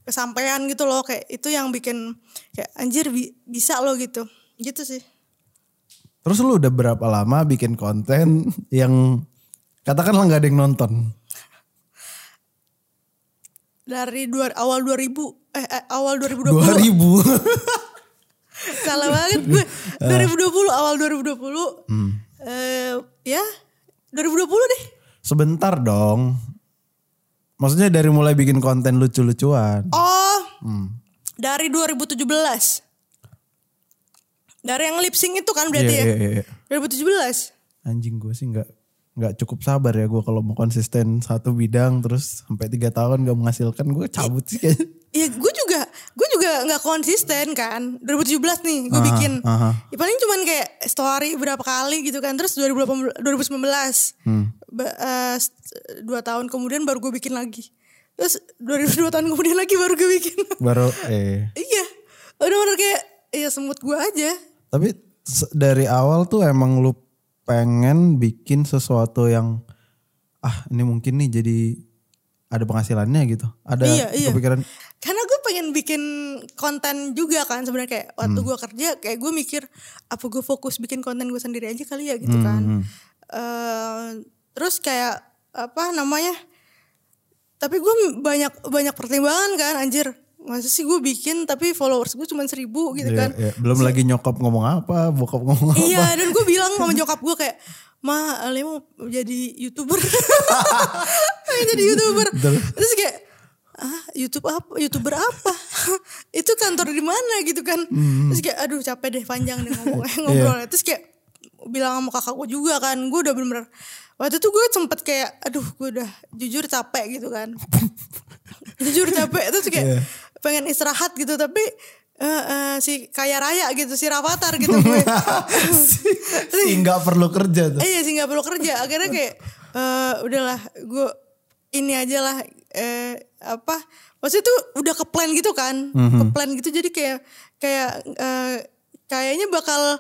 Speaker 1: kesampaian gitu loh kayak itu yang bikin kayak anjir bi- bisa loh gitu gitu sih
Speaker 2: Terus lu udah berapa lama bikin konten yang katakanlah nggak ada yang nonton?
Speaker 1: dari dua, awal 2000 eh, eh, awal 2020
Speaker 2: 2000.
Speaker 1: salah banget
Speaker 2: Eh.
Speaker 1: gue 2020 awal 2020
Speaker 2: Hmm.
Speaker 1: eh ya 2020 deh
Speaker 2: Sebentar dong. Maksudnya dari mulai bikin konten lucu-lucuan.
Speaker 1: oh
Speaker 2: Hmm.
Speaker 1: dari 2017 dari yang lip sync itu kan berarti
Speaker 2: Iya, iya, iya.
Speaker 1: ya 2017
Speaker 2: Anjing gue sih nggak nggak cukup sabar ya gue kalau mau konsisten satu bidang terus sampai tiga tahun gak menghasilkan gue cabut sih kayaknya.
Speaker 1: Ya gue juga, gue juga nggak konsisten kan. 2017 nih gue
Speaker 2: Aha,
Speaker 1: bikin.
Speaker 2: aha.
Speaker 1: Ya paling cuman kayak story berapa kali gitu kan. Terus 2018, 2019,
Speaker 2: Hmm.
Speaker 1: Ba- eh, s- dua tahun kemudian baru gue bikin lagi. Terus 2002 tahun kemudian lagi baru gue bikin.
Speaker 2: Baru eh
Speaker 1: iya, udah bener kayak ya semut gue aja.
Speaker 2: tapi se- dari awal tuh emang lu pengen bikin sesuatu yang ah ini mungkin nih jadi ada penghasilannya gitu. Ada
Speaker 1: Iya, iya.
Speaker 2: kepikiran
Speaker 1: Karena gue pengen bikin konten juga kan sebenarnya kayak waktu gue kerja kayak gue mikir apa gue fokus bikin konten gue sendiri aja kali ya gitu kan. Eh, terus kayak apa namanya? Tapi gue m- banyak banyak pertimbangan kan anjir. Masa sih gue bikin tapi followers gue cuma seribu gitu
Speaker 2: Iya,
Speaker 1: kan.
Speaker 2: iya. belum lagi nyokap ngomong apa, bokap ngomong apa.
Speaker 1: Iya dan gue bilang sama nyokap gue kayak Ma, Ale mau jadi youtuber. Pengen jadi youtuber. Terus kayak ah YouTube apa youtuber apa itu kantor di mana gitu kan terus kayak aduh capek deh panjang deh ngomong ngobrol terus kayak bilang sama kakak gue juga kan gue udah bener-bener waktu itu gue sempet kayak aduh gue udah jujur capek gitu kan jujur capek terus kayak pengen istirahat gitu tapi eh eh, si kaya raya gitu si rafathar gitu gue
Speaker 2: Sih nggak perlu kerja tuh.
Speaker 1: Eh, iya sih nggak perlu kerja akhirnya kayak eh udahlah gue ini aja lah eh, apa maksudnya tuh udah ke plan gitu kan ke plan gitu jadi kayak kayak eh, kayaknya bakal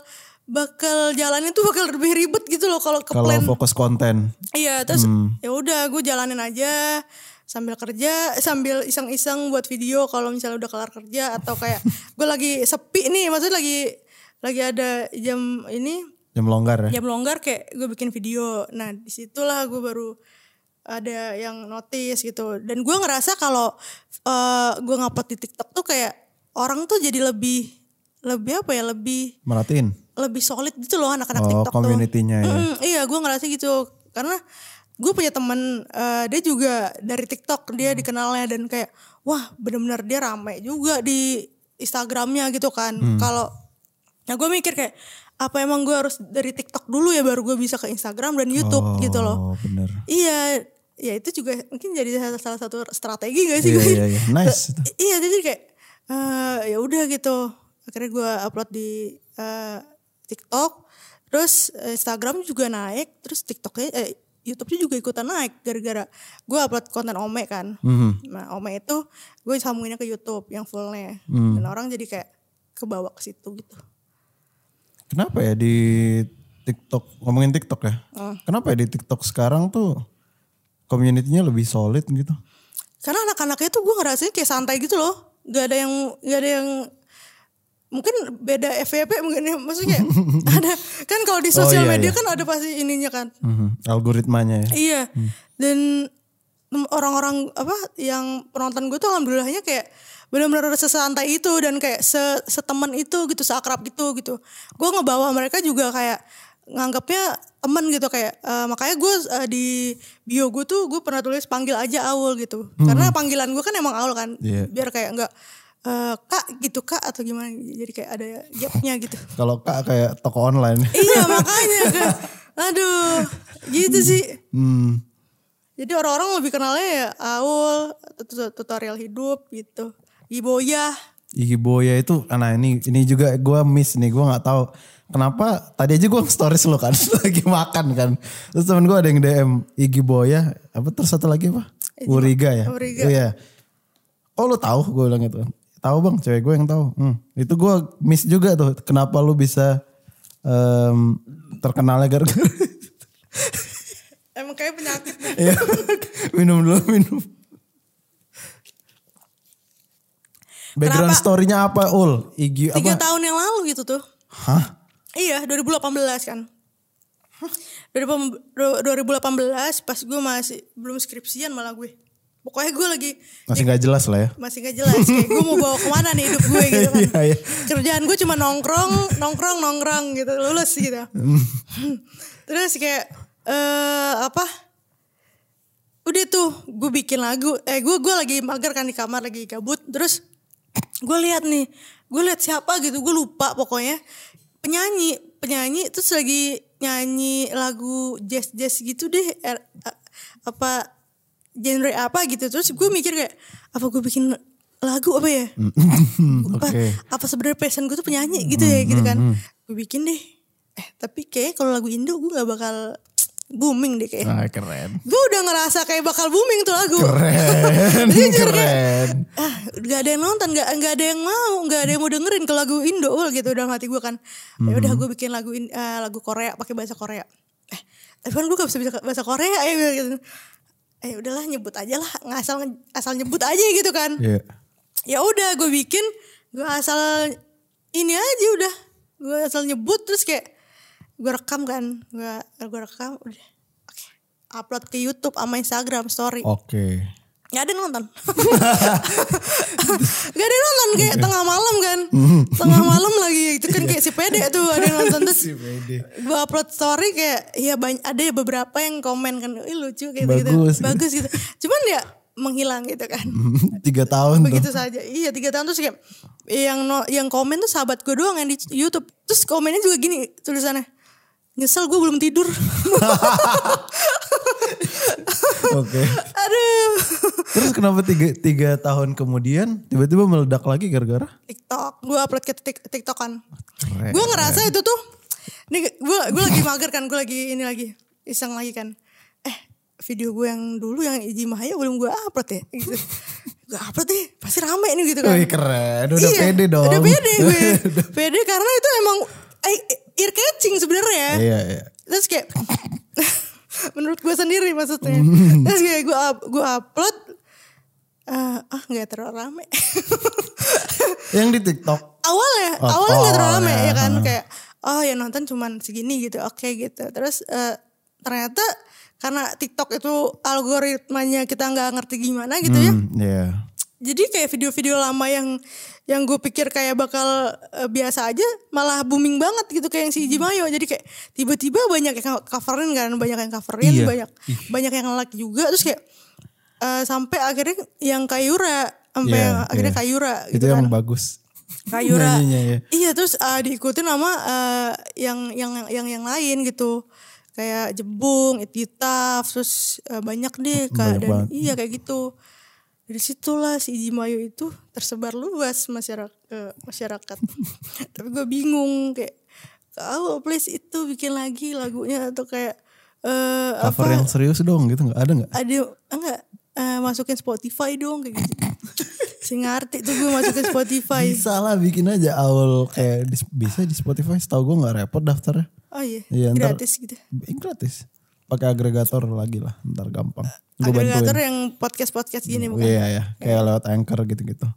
Speaker 1: bakal jalannya tuh bakal lebih ribet gitu loh kalau ke
Speaker 2: Kalau
Speaker 1: plan
Speaker 2: fokus konten.
Speaker 1: Iya, terus ya udah gue jalanin aja sambil kerja, sambil iseng-iseng buat video kalau misalnya udah kelar kerja atau kayak gue lagi sepi nih, maksudnya lagi lagi ada jam ini
Speaker 2: Jam longgar ya.
Speaker 1: jam longgar kayak gue bikin video. Nah, disitulah gue baru ada yang notice gitu. Dan gue ngerasa kalau eh, gue ngupload di TikTok tuh kayak orang tuh jadi lebih lebih apa ya lebih
Speaker 2: Merhatiin.
Speaker 1: lebih solid gitu loh anak-anak
Speaker 2: Oh,
Speaker 1: TikTok
Speaker 2: community-nya ya.
Speaker 1: tuh. Mm, iya, gue ngerasa gitu karena gue punya temen eh, dia juga dari TikTok dia dikenalnya dan kayak wah bener-bener dia rame juga di Instagramnya gitu kan.
Speaker 2: Mm.
Speaker 1: Kalau nah gue mikir kayak apa emang gue harus dari TikTok dulu ya baru gue bisa ke Instagram dan YouTube
Speaker 2: oh,
Speaker 1: gitu loh.
Speaker 2: bener.
Speaker 1: Iya, ya itu juga mungkin jadi salah- salah satu strategi gak sih
Speaker 2: Iya,
Speaker 1: gue?
Speaker 2: iya, iya. Nice itu.
Speaker 1: Iya, jadi kayak eh, ya udah gitu. Akhirnya gue upload di eh, TikTok, terus eh, Instagram juga naik, terus TikToknya, eh, YouTube-nya juga ikutan naik gara-gara gue upload konten Ome kan.
Speaker 2: Mhm.
Speaker 1: Nah Ome itu gue sambunginnya ke YouTube yang fullnya,
Speaker 2: Mhm.
Speaker 1: dan orang jadi kayak kebawa ke situ gitu.
Speaker 2: Kenapa ya di TikTok ngomongin TikTok ya?
Speaker 1: Oh.
Speaker 2: Kenapa ya di TikTok sekarang tuh community-nya lebih solid gitu?
Speaker 1: karena anak-anaknya tuh gue ngerasain kayak santai gitu loh gak ada yang gak ada yang mungkin beda FYP mungkin ya. maksudnya ada kan kalau di
Speaker 2: Oh,
Speaker 1: sosial
Speaker 2: iya,
Speaker 1: media
Speaker 2: iya.
Speaker 1: kan ada pasti ininya kan
Speaker 2: Mhm, Algoritmanya ya.
Speaker 1: iya dan tem- orang-orang apa yang penonton gue tuh alhamdulillahnya kayak benar-benar sesantai itu dan kayak se seteman itu gitu seakrab gitu gitu gue ngebawa mereka juga kayak nganggapnya temen gitu kayak eh, makanya gue eh, di bio gue tuh gue pernah tulis panggil aja Aul gitu karena panggilan gue kan emang Aul kan
Speaker 2: Iya.
Speaker 1: biar kayak enggak eh, kak gitu kak atau gimana jadi kayak ada gapnya gitu
Speaker 2: Kalau kak kayak toko online.
Speaker 1: iya makanya Kak. aduh gitu sih
Speaker 2: Hmm.
Speaker 1: jadi orang-orang lebih kenalnya ya Aul tut- tutorial hidup gitu Iboyah
Speaker 2: Iki Boya itu nah ini ini juga gua miss nih gua nggak tahu kenapa tadi aja gua stories lo kan lagi makan kan terus temen gua ada yang DM Iki Boya apa terus satu lagi apa Uriga ya
Speaker 1: Uriga.
Speaker 2: iya oh lu tahu gua bilang gitu tahu bang cewek gua yang tahu Hmm, itu gua miss juga tuh kenapa lu bisa em, terkenalnya gara-gara
Speaker 1: emang kayak penyakit
Speaker 2: Iya. minum dulu minum Background
Speaker 1: Kenapa?
Speaker 2: story-nya apa Ul? Igi
Speaker 1: tiga
Speaker 2: apa?
Speaker 1: tahun yang lalu gitu tuh
Speaker 2: Hah?
Speaker 1: Iya, 2018 kan. 2018 pas gue masih belum skripsian malah gue. Pokoknya gue lagi
Speaker 2: Masih nggak jelas lah ya.
Speaker 1: masih gak jelas kayak gue mau bawa kemana nih hidup gue gitu kan.
Speaker 2: Iya, iya.
Speaker 1: Kerjaan gue cuma nongkrong, nongkrong, nongkrong gitu lulus gitu. Terus kayak eh apa? Udah tuh gue bikin lagu. Eh gue gue lagi mager kan di kamar lagi gabut. Terus gue lihat nih, gue lihat siapa gitu, gue lupa pokoknya penyanyi penyanyi terus lagi nyanyi lagu jazz jazz gitu deh er- a- apa genre apa gitu terus gue mikir kayak apa gue bikin lagu apa ya
Speaker 2: Oke.
Speaker 1: apa, apa sebenarnya passion gue tuh penyanyi gitu ya gitu kan gue bikin deh eh tapi kayak kalau lagu Indo gue nggak bakal booming deh kayak
Speaker 2: Ah, keren.
Speaker 1: gue udah ngerasa kayak bakal booming tuh lagu
Speaker 2: Keren.
Speaker 1: Iya, Jujur,
Speaker 2: keren.
Speaker 1: ah nggak ada yang nonton nggak nggak ada yang mau nggak ada yang mau dengerin ke lagu Indo ul, gitu dalam hati gue kan ya udah gue bikin lagu in- eh, lagu Korea pakai bahasa Korea eh tapi kan gue gak bisa bisa bahasa Korea ya gitu. eh udahlah nyebut aja lah ngasal asal nyebut aja gitu kan
Speaker 2: Iya.
Speaker 1: ya udah gue bikin gue asal ini aja udah gue asal nyebut terus kayak gue rekam kan gue gue rekam udah Oke. upload ke YouTube sama Instagram story
Speaker 2: Oke.
Speaker 1: nggak ada yang nonton nggak ada yang nonton kayak tengah malam kan tengah malam lagi itu kan kayak si pede tuh ada yang nonton terus gue upload story kayak ya banyak ada ya beberapa yang komen kan Ih, lucu gitu
Speaker 2: Bagus.
Speaker 1: gitu bagus gitu cuman ya menghilang gitu kan
Speaker 2: Tiga tahun tuh.
Speaker 1: begitu saja iya tiga tahun terus kayak yang no- yang komen tuh sahabat gue doang yang di YouTube terus komennya juga gini tulisannya nyesel gue belum tidur
Speaker 2: Oke.
Speaker 1: aduh
Speaker 2: Terus kenapa tiga, tiga tahun kemudian tiba-tiba meledak lagi gara-gara?
Speaker 1: TikTok gue upload ke tik TikTok kan
Speaker 2: Keren.
Speaker 1: gue ngerasa itu tuh nih gue gue lagi mager kan gue lagi ini lagi iseng lagi kan eh video gue yang dulu yang Iji Mahaya belum gue upload ya gitu. gue upload deh pasti rame nih gitu kan
Speaker 2: Wih keren. Udah
Speaker 1: Iya,
Speaker 2: pede dong.
Speaker 1: Udah pede gue. pede karena itu emang eh, ear catching sebenarnya.
Speaker 2: iya, iya.
Speaker 1: Terus kayak menurut gue sendiri maksudnya. Terus kayak gue up, gue upload eh, ah nggak terlalu rame.
Speaker 2: Yang di TikTok.
Speaker 1: awalnya
Speaker 2: Oh,
Speaker 1: awalnya nggak terlalu rame
Speaker 2: awalnya,
Speaker 1: ya kan
Speaker 2: heeh.
Speaker 1: kayak oh ya nonton cuman segini gitu. Oke gitu. Terus eh, ternyata karena TikTok itu algoritmanya kita nggak ngerti gimana gitu ya
Speaker 2: Hmm, Iya.
Speaker 1: jadi kayak video-video lama yang yang gue pikir kayak bakal eh, biasa aja malah booming banget gitu kayak yang si
Speaker 2: Hmm.
Speaker 1: Iji Mayo jadi kayak tiba-tiba banyak yang coverin kan banyak yang coverin
Speaker 2: Iya.
Speaker 1: banyak banyak yang like juga terus kayak eh, sampai akhirnya yang Kayura sampai
Speaker 2: Iya,
Speaker 1: yang akhirnya
Speaker 2: iya.
Speaker 1: Kayura gitu
Speaker 2: itu
Speaker 1: kan
Speaker 2: yang bagus.
Speaker 1: Kayura
Speaker 2: Nyanyinya, ya.
Speaker 1: iya terus eh, diikutin sama eh, yang yang yang yang lain gitu kayak Jebung, Ititaf, terus eh, banyak deh
Speaker 2: Banyak
Speaker 1: kak dan
Speaker 2: banget.
Speaker 1: iya kayak gitu dari situlah si Iji Mayu itu tersebar luas masyarakat masyarakat tapi gue bingung kayak kau please itu bikin lagi lagunya atau kayak eh,
Speaker 2: Cover
Speaker 1: apa
Speaker 2: yang serius dong gitu nggak ada nggak?
Speaker 1: ada enggak eh, masukin Spotify dong kayak gitu sing ngerti tuh gue masukin Spotify
Speaker 2: Bisa lah bikin aja awal kayak di- bisa di Spotify. Setahu gue nggak repot daftarnya.
Speaker 1: Oh iya,
Speaker 2: Iya, ntar-
Speaker 1: gratis gitu.
Speaker 2: Eh, gratis. Pakai agregator lagi lah, ntar gampang. Gue
Speaker 1: Agregator
Speaker 2: bantuin.
Speaker 1: yang podcast-podcast gini Eh, bukan?
Speaker 2: Iya ya, kayak lewat anchor gitu-gitu.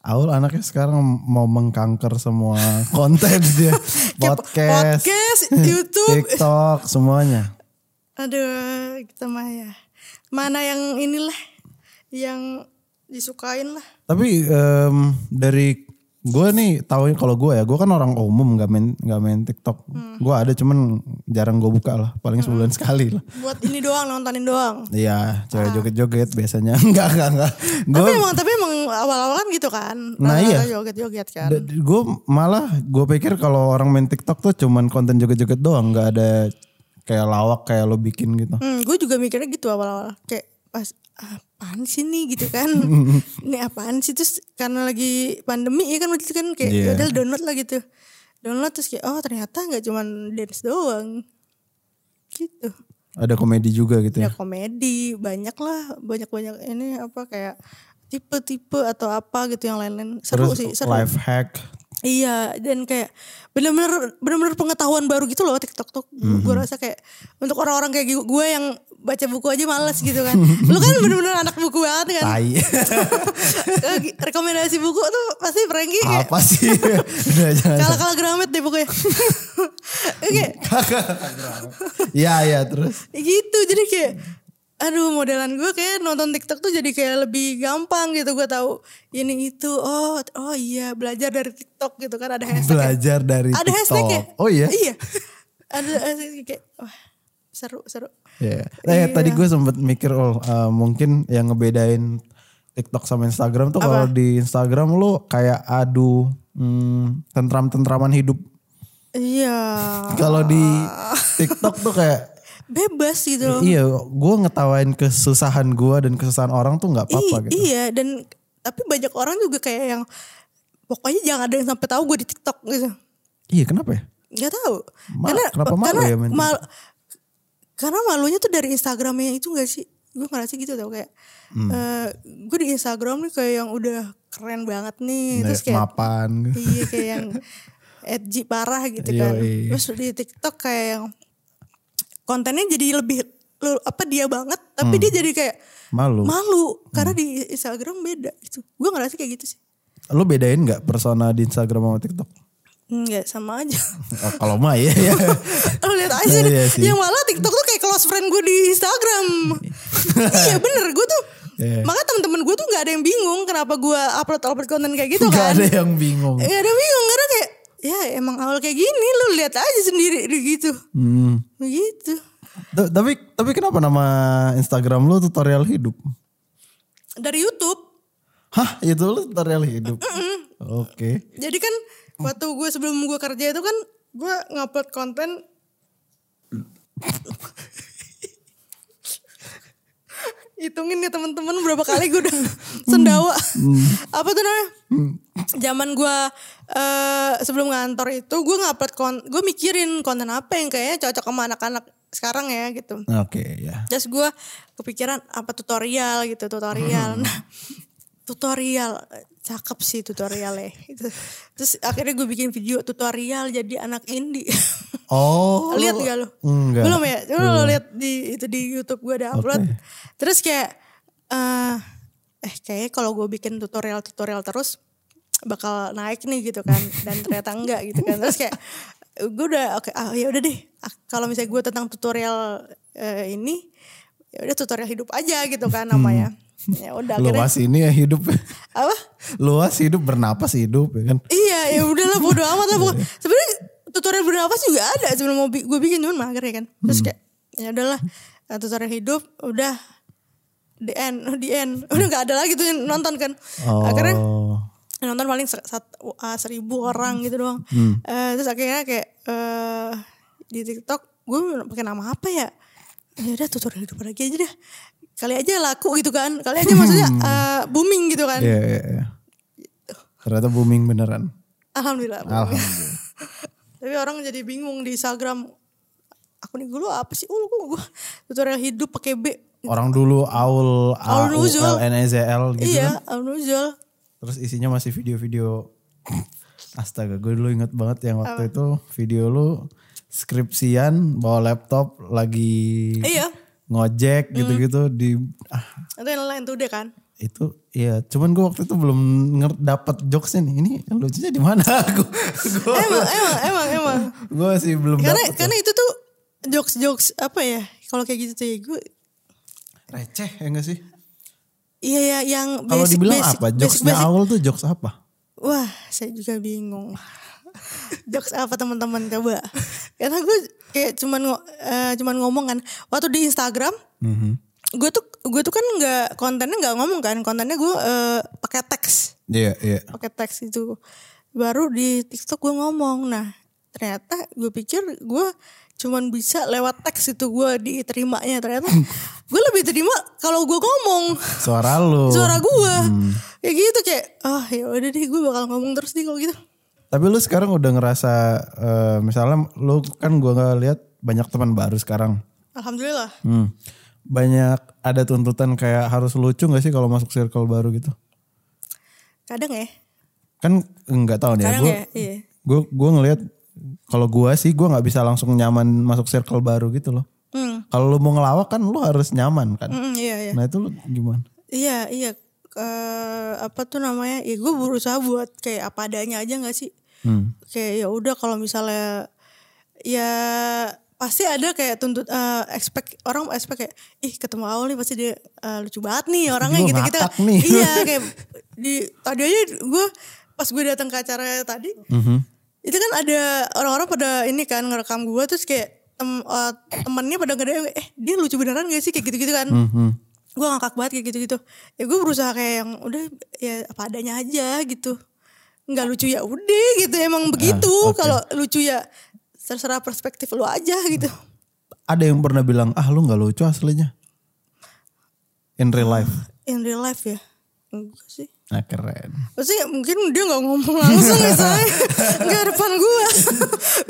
Speaker 2: Aul anaknya sekarang mau mengkanker semua konten dia.
Speaker 1: Kayak po-
Speaker 2: Podcast,
Speaker 1: podcast, YouTube.
Speaker 2: TikTok, semuanya.
Speaker 1: Aduh, kita mah ya. Mana yang inilah yang disukain lah.
Speaker 2: Tapi em, dari gue nih tahu kalau gue ya, gue kan orang umum nggak main nggak main TikTok.
Speaker 1: Hmm.
Speaker 2: Gue ada cuman jarang gue buka lah, paling sebulan sekali lah.
Speaker 1: Buat ini doang nontonin doang.
Speaker 2: Iya,
Speaker 1: Ah.
Speaker 2: cewek joget-joget biasanya enggak enggak enggak. Gue
Speaker 1: Tapi emang tapi emang awal-awal kan gitu kan.
Speaker 2: Oh. Nah,
Speaker 1: Rata-rata
Speaker 2: iya.
Speaker 1: Joget-joget kan.
Speaker 2: gue malah gue pikir kalau orang main TikTok tuh cuman konten joget-joget doang, nggak ada kayak lawak kayak lo bikin gitu.
Speaker 1: Hmm, gue juga mikirnya gitu awal-awal. Kayak pas apaan sih nih gitu kan. ini apaan sih terus karena lagi pandemi ya kan waktu itu kan kayak
Speaker 2: Iya.
Speaker 1: yaudah download lah gitu. Download terus kayak oh ternyata nggak cuman dance doang. Gitu.
Speaker 2: Ada komedi juga gitu
Speaker 1: Ya
Speaker 2: ya.
Speaker 1: komedi banyak lah banyak-banyak ini apa kayak tipe-tipe atau apa gitu yang lain-lain seru
Speaker 2: Terus
Speaker 1: sih seru
Speaker 2: life hack.
Speaker 1: Iya, dan kayak bener-bener bener-bener pengetahuan baru gitu loh TikTok tuh. Gue
Speaker 2: Hmm.
Speaker 1: rasa kayak untuk orang-orang kayak gue yang baca buku aja males gitu kan. Lu kan bener-bener anak buku banget kan.
Speaker 2: Tai.
Speaker 1: Lagi Rekomendasi buku tuh pasti Franky kayak
Speaker 2: Apa sih? Udah jangan.
Speaker 1: kalah-kalah geramet deh pokoknya. Oke,
Speaker 2: Iya iya terus.
Speaker 1: gitu jadi kayak aduh modelan gue kayak nonton TikTok tuh jadi kayak lebih gampang gitu gue tahu ini itu oh oh iya belajar dari TikTok gitu kan ada hashtag
Speaker 2: Belajar dari
Speaker 1: ada
Speaker 2: TikTok.
Speaker 1: hashtagnya
Speaker 2: Oh iya.
Speaker 1: iya ada hashtag kayak wah, seru seru
Speaker 2: Iya. Nah, ya, tadi gue sempet mikir oh eh, mungkin yang ngebedain TikTok sama Instagram tuh kalau di Instagram lu kayak adu hmm, tentram-tentraman hidup.
Speaker 1: iya
Speaker 2: Kalau di
Speaker 1: Ah.
Speaker 2: TikTok tuh kayak
Speaker 1: bebas gitu loh
Speaker 2: iya gue ngetawain kesusahan gue dan kesusahan orang tuh nggak apa-apa
Speaker 1: I-
Speaker 2: gitu.
Speaker 1: iya dan tapi banyak orang juga kayak yang pokoknya jangan ada yang sampai tahu gue di TikTok gitu
Speaker 2: Iya kenapa ya?
Speaker 1: nggak tahu
Speaker 2: Ma- kenapa malu
Speaker 1: karena
Speaker 2: ya main
Speaker 1: mal- karena malunya tuh dari Instagramnya itu gak sih gue ngerasa gitu tau kayak
Speaker 2: Hmm.
Speaker 1: eh, gue di Instagram nih kayak yang udah keren banget
Speaker 2: Nah,
Speaker 1: nih terus kayak
Speaker 2: Mapan. gitu.
Speaker 1: iya kayak yang edgy parah gitu kan
Speaker 2: Yoi.
Speaker 1: terus di TikTok kayak yang kontennya jadi lebih lu- apa dia banget tapi
Speaker 2: Hmm.
Speaker 1: dia jadi kayak
Speaker 2: Malu.
Speaker 1: malu karena
Speaker 2: Hmm.
Speaker 1: di Instagram beda gitu gue ngerasa kayak gitu sih
Speaker 2: Lu bedain nggak persona di Instagram sama TikTok?
Speaker 1: nggak sama aja
Speaker 2: Oh, kalau mah ya. ya.
Speaker 1: Lu lihat aja
Speaker 2: Iya
Speaker 1: deh.
Speaker 2: sih.
Speaker 1: yang malah TikTok tuh kayak close friend gue di Instagram iya bener gue tuh
Speaker 2: Iya.
Speaker 1: makanya temen-temen gue tuh nggak ada yang bingung kenapa gue upload upload konten kayak gitu
Speaker 2: Gak
Speaker 1: kan
Speaker 2: ada yang bingung.
Speaker 1: nggak ada bingung karena kayak ya emang awal kayak gini lu lihat aja sendiri gitu
Speaker 2: Hmm.
Speaker 1: begitu
Speaker 2: Ta- Tapi tapi kenapa nama Instagram lu tutorial hidup?
Speaker 1: dari YouTube
Speaker 2: Hah, itu lu tutorial hidup. Oke.
Speaker 1: jadi kan waktu gue sebelum gue kerja itu kan gue ngupload konten hitungin ya teman-teman berapa kali gue udah sendawa apa tuh namanya zaman gue eh, sebelum ngantor itu gue ngupload kon- gue mikirin konten apa yang kayaknya cocok sama anak-anak sekarang ya gitu
Speaker 2: Oke, ya.
Speaker 1: Terus gue kepikiran apa tutorial gitu tutorial. Nah, tutorial eh, cakep sih tutorialnya. Itu. Terus akhirnya gue bikin video tutorial jadi anak indie.
Speaker 2: Oh.
Speaker 1: lihat
Speaker 2: lu-
Speaker 1: gak lo?
Speaker 2: Enggak.
Speaker 1: Belum ya? Cuma lo lihat di itu di YouTube gue ada upload.
Speaker 2: Oke.
Speaker 1: Terus kayak eh eh kayaknya kalau gue bikin tutorial-tutorial terus bakal naik nih gitu kan dan ternyata enggak gitu kan. Terus kayak gue udah oke ah ya udah deh Ah, kalau misalnya gue tentang tutorial eh, ini ya udah tutorial hidup aja gitu kan namanya.
Speaker 2: Hmm.
Speaker 1: Ya udah akhirnya
Speaker 2: Luas ini ya hidup.
Speaker 1: apa?
Speaker 2: Luas hidup bernapas hidup ya kan.
Speaker 1: Iya, ya udahlah bodo amat lah. pokoknya. Sebenarnya tutorial bernafas juga ada sebelum mau gue bikin cuman mager ya kan. Terus kayak ya udahlah eh, tutorial hidup udah the end, the end. Udah nggak ada lagi tuh yang nonton kan.
Speaker 2: Oh.
Speaker 1: Akhirnya yang nonton paling se- sat- uh, seribu orang gitu doang. Eh, terus akhirnya kayak eh di TikTok gue pakai nama apa ya? Ya udah tutorial hidup lagi aja dah. Kali aja laku gitu kan. Kali aja maksudnya eh, booming gitu kan.
Speaker 2: Iya, iya, iya. Ternyata booming beneran.
Speaker 1: Alhamdulillah.
Speaker 2: Alhamdulillah.
Speaker 1: Tapi orang jadi bingung di Instagram. Aku nih dulu apa sih? Oh, gue, gue tutorial hidup pakai B.
Speaker 2: Orang dulu Aul A
Speaker 1: Aul
Speaker 2: U
Speaker 1: Nuzul.
Speaker 2: L N E Z L gitu
Speaker 1: iya,
Speaker 2: kan.
Speaker 1: Alnuzul.
Speaker 2: Terus isinya masih video-video. Astaga, gue dulu inget banget yang waktu itu video lu skripsian bawa laptop lagi
Speaker 1: Iya.
Speaker 2: ngojek gitu-gitu di ah,
Speaker 1: Itu yang lain tuh deh kan.
Speaker 2: itu ya cuman gue waktu itu belum nger- dapet jokesnya nih ini lucunya di mana aku gue
Speaker 1: Emang, emang, emang, emang.
Speaker 2: gue masih belum
Speaker 1: Karena
Speaker 2: dapet
Speaker 1: karena itu tuh jokes jokes apa ya? Kalau kayak gitu tuh ya gue
Speaker 2: receh ya enggak sih?
Speaker 1: Iya ya yang
Speaker 2: Kalau
Speaker 1: basic
Speaker 2: dibilang
Speaker 1: basic,
Speaker 2: apa?
Speaker 1: basic,
Speaker 2: Jokesnya
Speaker 1: basic.
Speaker 2: awal tuh jokes apa?
Speaker 1: Wah, saya juga bingung. Jokes apa teman-teman coba? Karena gue kayak cuman ngo- eh, cuman ngomong kan. Waktu di Instagram, gue tuh gue tuh kan nggak kontennya nggak ngomong kan, kontennya gue eh, pakai teks,
Speaker 2: Iya, iya.
Speaker 1: pakai teks itu. Baru di TikTok gue ngomong. Nah, ternyata gue pikir gue cuman bisa lewat teks itu gue diterimanya ternyata gue lebih terima kalau gue ngomong
Speaker 2: Suara lu.
Speaker 1: suara gue
Speaker 2: Hmm.
Speaker 1: kayak gitu kayak ah ya udah deh gue bakal ngomong terus nih kalau gitu
Speaker 2: Tapi lu sekarang udah ngerasa eh, misalnya lu kan gua nggak lihat banyak teman baru sekarang.
Speaker 1: alhamdulillah
Speaker 2: Hmm. Banyak ada tuntutan kayak harus lucu gak sih kalau masuk circle baru gitu?
Speaker 1: kadang ya
Speaker 2: Kan nggak tahu nih ya.
Speaker 1: kadang
Speaker 2: Gua,
Speaker 1: ya iya
Speaker 2: gua gua ngelihat kalau gua sih gua nggak bisa langsung nyaman masuk circle baru gitu loh.
Speaker 1: hmm.
Speaker 2: Kalau lu mau ngelawak kan lu harus nyaman kan.
Speaker 1: Mm, iya iya
Speaker 2: Nah itu lu gimana?
Speaker 1: iya iya Eh, apa tuh namanya ya gue berusaha buat kayak apa adanya aja nggak sih
Speaker 2: Hmm.
Speaker 1: kayak ya udah kalau misalnya ya pasti ada kayak tuntut eh, expect orang expect kayak ih ketemu Aul nih pasti dia eh, lucu banget nih orangnya
Speaker 2: Gua
Speaker 1: gitu kita
Speaker 2: ngakak nih.
Speaker 1: iya kayak di tadi aja gue pas gue datang ke acara tadi itu kan ada orang-orang pada ini kan ngerekam gue terus kayak tem- eh, temennya pada gede eh dia lucu beneran gak sih kayak gitu-gitu kan
Speaker 2: Hmm.
Speaker 1: gue ngakak banget kayak gitu-gitu ya gue berusaha kayak yang udah ya apa adanya aja gitu nggak lucu ya udah gitu emang begitu
Speaker 2: Ah, oke.
Speaker 1: kalau lucu ya terserah perspektif lu aja gitu
Speaker 2: Ada yang pernah bilang ah lu nggak lucu aslinya in real life.
Speaker 1: in real life ya enggak sih
Speaker 2: Nah keren.
Speaker 1: Maksudnya mungkin dia nggak ngomong langsung misalnya nggak depan gue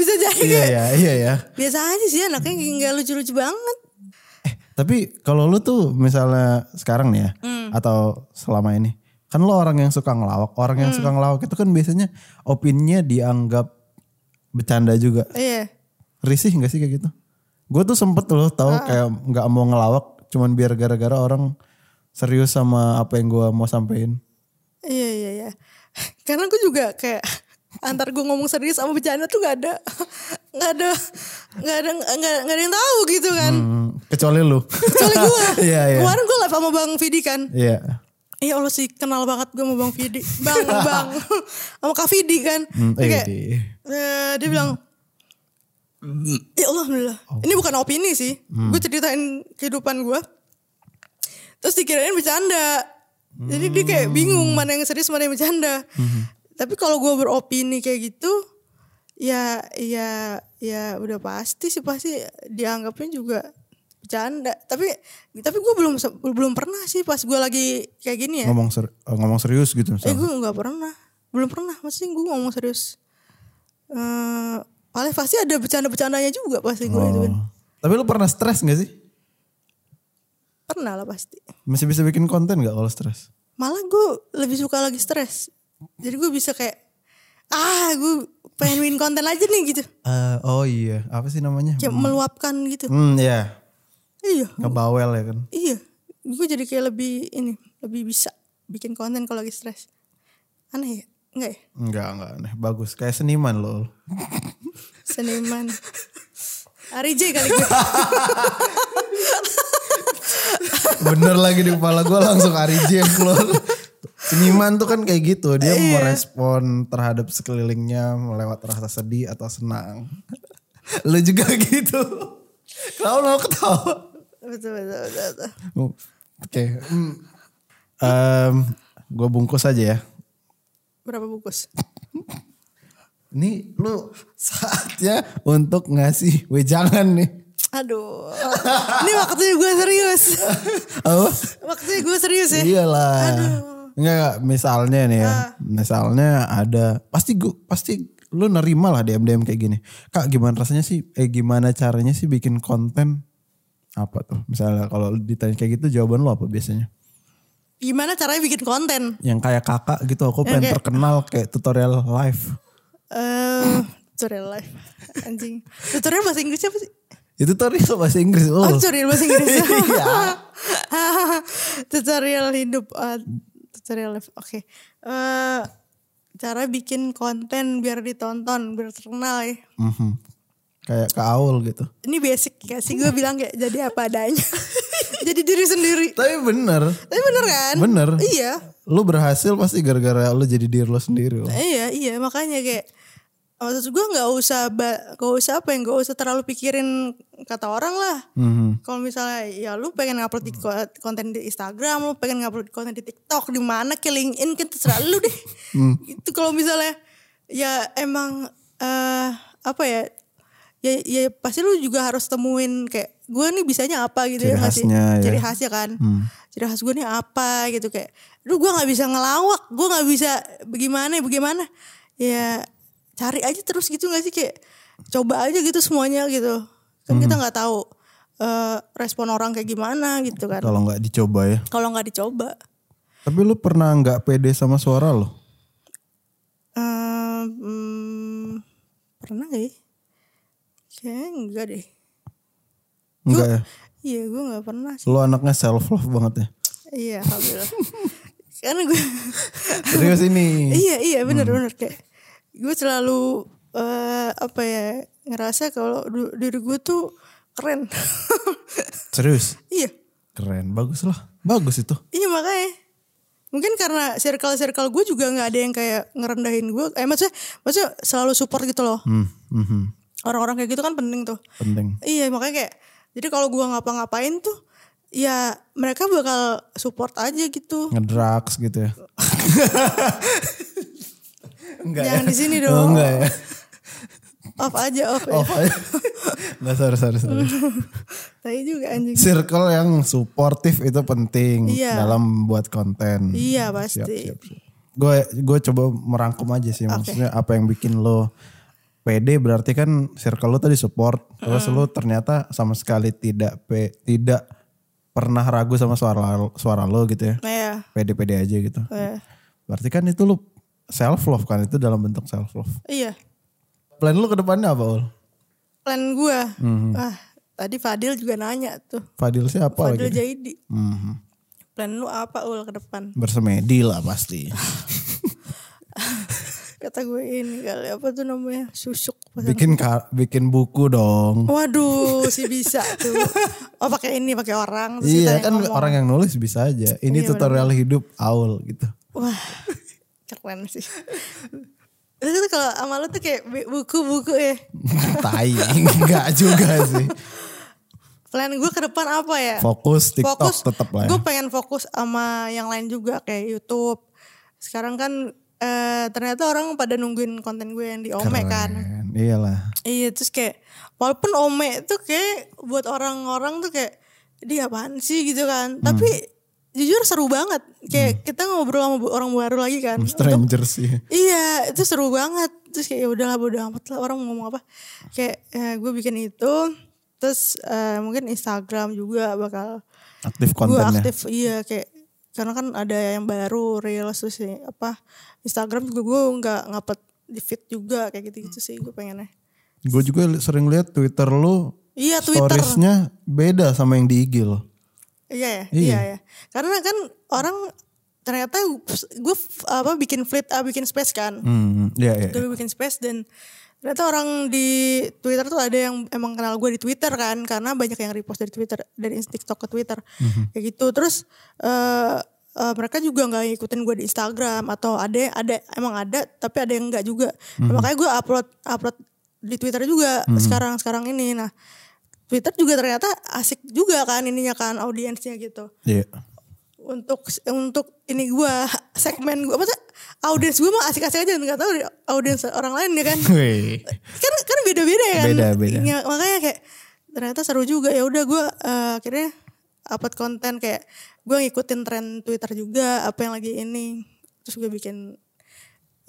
Speaker 1: bisa jadi
Speaker 2: iya ya iya ya.
Speaker 1: biasa aja sih anaknya nggak lucu-lucu banget
Speaker 2: Eh tapi kalau lu tuh misalnya sekarang nih ya atau selama ini kan lo orang yang suka ngelawak orang yang suka ngelawak itu kan biasanya opinnya dianggap bercanda juga.
Speaker 1: iya
Speaker 2: risih gak sih kayak gitu? Gue tuh sempet loh tau kayak nggak mau ngelawak cuman biar gara-gara orang serius sama apa yang gue mau sampein.
Speaker 1: iya iya iya karena gue juga kayak antar gue ngomong serius sama bercanda tuh nggak ada nggak ada nggak ada nggak nggak ada yang tahu gitu kan
Speaker 2: Hmm, kecuali lu.
Speaker 1: kecuali gue
Speaker 2: Iya iya.
Speaker 1: kemarin gue live sama bang Vidi kan
Speaker 2: Iya.
Speaker 1: ya Allah sih kenal banget gue sama bang Vidi bang bang sama Kak Vidi kan
Speaker 2: Hmm,
Speaker 1: Dia
Speaker 2: eh,
Speaker 1: kayak,
Speaker 2: di-
Speaker 1: eh, dia bilang ya Allah alhamdulillah ini bukan opini sih gue ceritain kehidupan gue terus dikirain bercanda jadi dia kayak bingung mana yang serius mana yang bercanda tapi kalau gue beropini kayak gitu ya ya ya udah pasti sih pasti dianggapnya juga bercanda tapi tapi gue belum se- belum pernah sih pas gue lagi kayak gini ya
Speaker 2: ngomong ser- eh, ngomong serius gitu
Speaker 1: eh
Speaker 2: misalnya.
Speaker 1: gue nggak pernah belum pernah maksudnya gue ngomong serius Eh, paling pasti ada bercanda-bercandanya juga pasti gue itu
Speaker 2: Oh. Tapi lu pernah stres gak sih?
Speaker 1: pernah lah pasti
Speaker 2: Masih bisa bikin konten gak kalau stres?
Speaker 1: malah gue lebih suka lagi stres jadi gue bisa kayak ah gue pengen win konten aja nih gitu
Speaker 2: Eh, oh iya, apa sih namanya?
Speaker 1: kayak meluapkan gitu
Speaker 2: Hmm ya,
Speaker 1: iya
Speaker 2: ngebawel ya kan.
Speaker 1: iya gue jadi kayak lebih ini lebih bisa bikin konten kalau lagi stres aneh ya enggak ya
Speaker 2: Enggak enggak aneh, bagus. Kayak seniman loh.
Speaker 1: seniman Ari J kali gue
Speaker 2: Bener lagi di kepala gue langsung Ariji yang keluar. Seniman tuh kan kayak gitu, dia merespon terhadap sekelilingnya melewat rasa sedih atau senang. Lu juga gitu. Kenapa lo ketawa?
Speaker 1: betul betul betul, betul.
Speaker 2: Oke. gue bungkus aja ya.
Speaker 1: berapa bungkus
Speaker 2: Ini lu saatnya untuk ngasih wejangan nih.
Speaker 1: Aduh. Ini waktunya gue serius.
Speaker 2: Apa?
Speaker 1: Waktunya gue serius ya.
Speaker 2: Iyalah. Enggak, enggak, misalnya nih
Speaker 1: Ah.
Speaker 2: ya. Misalnya ada pasti gua pasti lu nerima lah DM DM kayak gini. Kak, gimana rasanya sih eh gimana caranya sih bikin konten apa tuh? Misalnya kalau ditanya kayak gitu jawaban lu apa biasanya?
Speaker 1: Gimana caranya bikin konten?
Speaker 2: Yang kayak kakak gitu aku pengen
Speaker 1: kayak-
Speaker 2: terkenal kayak tutorial live.
Speaker 1: Eh, tutorial live. Anjing. Tutorial bahasa Inggris apa sih?
Speaker 2: Itu tutorial bahasa Inggris. lu.
Speaker 1: Oh, tutorial bahasa Inggris.
Speaker 2: Iya.
Speaker 1: tutorial hidup. eh, tutorial live. Oke. Eh, cara bikin konten biar ditonton, biar terkenal ya.
Speaker 2: Mhm. Kayak ke Aul gitu.
Speaker 1: ya Ini basic gak sih gue bilang kayak jadi apa adanya. jadi diri sendiri.
Speaker 2: Tapi bener.
Speaker 1: Tapi bener kan?
Speaker 2: Bener.
Speaker 1: Iya.
Speaker 2: Lu berhasil pasti gara-gara lu jadi diri lu sendiri. loh.
Speaker 1: Iya, iya makanya kayak oh, maksud gue nggak usah ba- nggak usah apa yang nggak usah terlalu pikirin kata orang lah.
Speaker 2: Mhm. Hmm.
Speaker 1: Kalau misalnya ya lu pengen ngupload di ko- konten di Instagram, lu pengen ngupload konten di TikTok, di mana ke LinkedIn kan terserah lu deh.
Speaker 2: Hmm.
Speaker 1: Itu kalau misalnya ya emang eh apa ya ya ya pasti lu juga harus temuin kayak gue nih bisanya apa gitu ya
Speaker 2: Ciri
Speaker 1: nggak sih?
Speaker 2: khasnya ya.
Speaker 1: Ciri khasnya kan ciri khas gue nih apa gitu kayak aduh gue nggak bisa ngelawak gue nggak bisa bagaimana bagaimana ya cari aja terus gitu nggak sih kayak coba aja gitu semuanya gitu kan kita nggak tahu eh, respon orang kayak gimana gitu kan
Speaker 2: Kalau nggak dicoba ya.
Speaker 1: kalau nggak dicoba
Speaker 2: Tapi lu pernah nggak pede sama suara lo?
Speaker 1: Ehm, hmm, pernah gak ya kayaknya enggak deh
Speaker 2: Enggak ya.
Speaker 1: iya gue nggak pernah sih
Speaker 2: Lu anaknya self love banget ya.
Speaker 1: iya alhamdulillah karena gue
Speaker 2: Serius ini.
Speaker 1: Iya iya benar
Speaker 2: Hmm.
Speaker 1: benar kayak gue selalu eh, apa ya ngerasa kalau du- diri gue tuh keren.
Speaker 2: Serius.
Speaker 1: iya
Speaker 2: Keren, bagus lah. Bagus itu.
Speaker 1: iya makanya mungkin karena circle circle gue juga nggak ada yang kayak ngerendahin gue. Eh maksudnya maksudnya selalu support gitu loh.
Speaker 2: Hmm, mhm,
Speaker 1: Orang-orang kayak gitu kan penting tuh.
Speaker 2: penting.
Speaker 1: Iya makanya kayak jadi kalau gue ngapa-ngapain tuh ya mereka bakal support aja gitu.
Speaker 2: Ngedrugs gitu ya. enggak
Speaker 1: Jangan di sini
Speaker 2: Oh,
Speaker 1: dong.
Speaker 2: enggak ya.
Speaker 1: Off aja off.
Speaker 2: Oh,
Speaker 1: Ya.
Speaker 2: enggak sorry, sorry, sorry.
Speaker 1: Tai juga anjing.
Speaker 2: Circle yang suportif itu penting
Speaker 1: Iya.
Speaker 2: dalam membuat konten.
Speaker 1: Iya pasti.
Speaker 2: Gue gue coba merangkum aja sih maksudnya apa yang bikin lo PD berarti kan circle lo tadi support terus lo ternyata sama sekali tidak pe, tidak pernah ragu sama suara suara lo gitu ya.
Speaker 1: Nah ya.
Speaker 2: PD-PD aja gitu.
Speaker 1: Iya.
Speaker 2: Berarti kan itu lo self love kan itu dalam bentuk self love.
Speaker 1: Iya.
Speaker 2: Plan lo ke depannya apa, Ul?
Speaker 1: plan gue ah tadi Fadil juga nanya tuh
Speaker 2: Fadil siapa
Speaker 1: Fadil
Speaker 2: Mhm. lagi?
Speaker 1: Jaidi
Speaker 2: Mhm.
Speaker 1: plan lu apa ul ke depan
Speaker 2: Bersemedi lah pasti.
Speaker 1: kata gue ini kali apa tuh namanya susuk
Speaker 2: bikin ka- bikin buku dong.
Speaker 1: waduh si bisa tuh oh pakai ini pakai orang terus kita
Speaker 2: iya
Speaker 1: yang
Speaker 2: kan
Speaker 1: ngomong. Iya,
Speaker 2: orang yang nulis bisa aja. Ini tutorial hidup Aul gitu.
Speaker 1: wah keren sih Terus tuh kalau sama lu tuh kayak bi- buku-buku ya
Speaker 2: tai enggak juga sih.
Speaker 1: plan gue ke depan apa ya
Speaker 2: Fokus TikTok tetap lah ya.
Speaker 1: gue pengen fokus sama yang lain juga kayak YouTube sekarang kan eh, ternyata orang pada nungguin konten gue yang di Ome kan
Speaker 2: Keren. Iyalah.
Speaker 1: Iya terus kayak walaupun Ome tuh kayak buat orang-orang tuh kayak dia apaan sih gitu kan. Tapi jujur seru banget. Kayak kita ngobrol sama bu- orang baru lagi kan.
Speaker 2: Stranger sih.
Speaker 1: Iya itu seru banget. Terus kayak ya udahlah bodo amat lah orang mau ngomong apa. Kayak eh, gue bikin itu. Terus eh, mungkin Instagram juga bakal gue
Speaker 2: Aktif kontennya.
Speaker 1: aktif iya kayak karena kan ada yang baru reels terus sih, apa Instagram juga gue nggak ngapet di feed juga kayak gitu gitu sih gue pengennya.
Speaker 2: Gue juga li- sering lihat Twitter lu
Speaker 1: Iya Twitter.
Speaker 2: storiesnya beda sama yang di IG lo.
Speaker 1: Iya ya,
Speaker 2: Iya.
Speaker 1: iya. ya. Karena kan orang ternyata gue f- apa bikin flip ah, bikin space kan.
Speaker 2: Hmm, iya iya.
Speaker 1: Gue bikin space dan ternyata orang di Twitter tuh ada yang emang kenal gue di Twitter kan karena banyak yang repost dari Twitter dari Inst- TikTok ke Twitter.
Speaker 2: Mhm.
Speaker 1: Kayak gitu. Terus eh eh, mereka juga nggak ngikutin gue di Instagram atau ada ada emang ada tapi ada yang nggak juga. Nah,
Speaker 2: Mhm.
Speaker 1: Makanya gue upload upload di Twitter juga sekarang sekarang ini. Nah, Twitter juga ternyata asik juga kan ininya kan audiensnya gitu
Speaker 2: Iya.
Speaker 1: untuk untuk ini gua segmen gua maksudnya audiens gua mah asik-asik aja nggak tahu deh audiens orang lain ya kan
Speaker 2: Wih.
Speaker 1: kan kan beda-beda ya kan
Speaker 2: Beda, beda.
Speaker 1: Ya, makanya kayak ternyata seru juga ya udah gua eh, akhirnya upload konten kayak gua ngikutin tren Twitter juga apa yang lagi ini terus gue bikin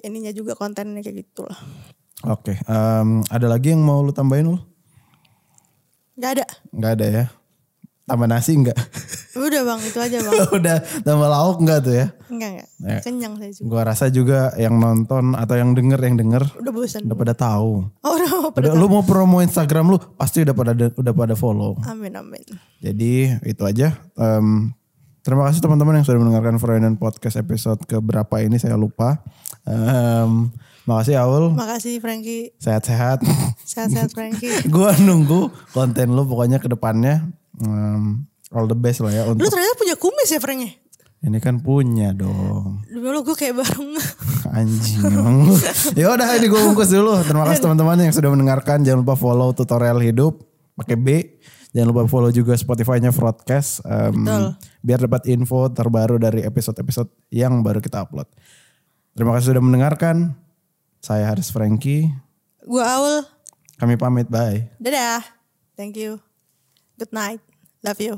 Speaker 1: ininya juga kontennya kayak gitu lah
Speaker 2: Oke, em, ada lagi yang mau lu tambahin lu?
Speaker 1: nggak ada
Speaker 2: Enggak ada ya. Tambah nasi enggak?
Speaker 1: udah bang itu aja bang
Speaker 2: Udah tambah lauk enggak tuh ya?
Speaker 1: enggak enggak
Speaker 2: Ya.
Speaker 1: kenyang saya juga
Speaker 2: Gua rasa juga yang nonton atau yang denger yang denger
Speaker 1: udah bosan
Speaker 2: udah pada tahu.
Speaker 1: oh udah mau
Speaker 2: Udah,
Speaker 1: pada-
Speaker 2: lu mau promo Instagram lu pasti udah pada udah pada follow.
Speaker 1: amin amin
Speaker 2: Jadi itu aja. Em, terima kasih teman-teman yang sudah mendengarkan Freudian Podcast episode keberapa ini saya lupa. Em, makasih Aul.
Speaker 1: makasih Frankie
Speaker 2: Sehat-sehat.
Speaker 1: sehat-sehat Frankie
Speaker 2: gua nunggu konten lu pokoknya ke depannya. Em, All the best lah ya
Speaker 1: Lu
Speaker 2: untuk
Speaker 1: ternyata punya kumis ya Frank
Speaker 2: ini kan punya dong.
Speaker 1: Dulu gue kayak bareng.
Speaker 2: Anjing emang. lu. ya udah ini gue bungkus dulu. Terima kasih teman-teman yang sudah mendengarkan. Jangan lupa follow tutorial hidup pakai B. Jangan lupa follow juga Spotify-nya Broadcast. em, biar dapat info terbaru dari episode-episode yang baru kita upload. Terima kasih sudah mendengarkan. Saya Haris Franky.
Speaker 1: gue Aul.
Speaker 2: Kami pamit. Bye.
Speaker 1: Dadah. Thank you. Good night. Love you.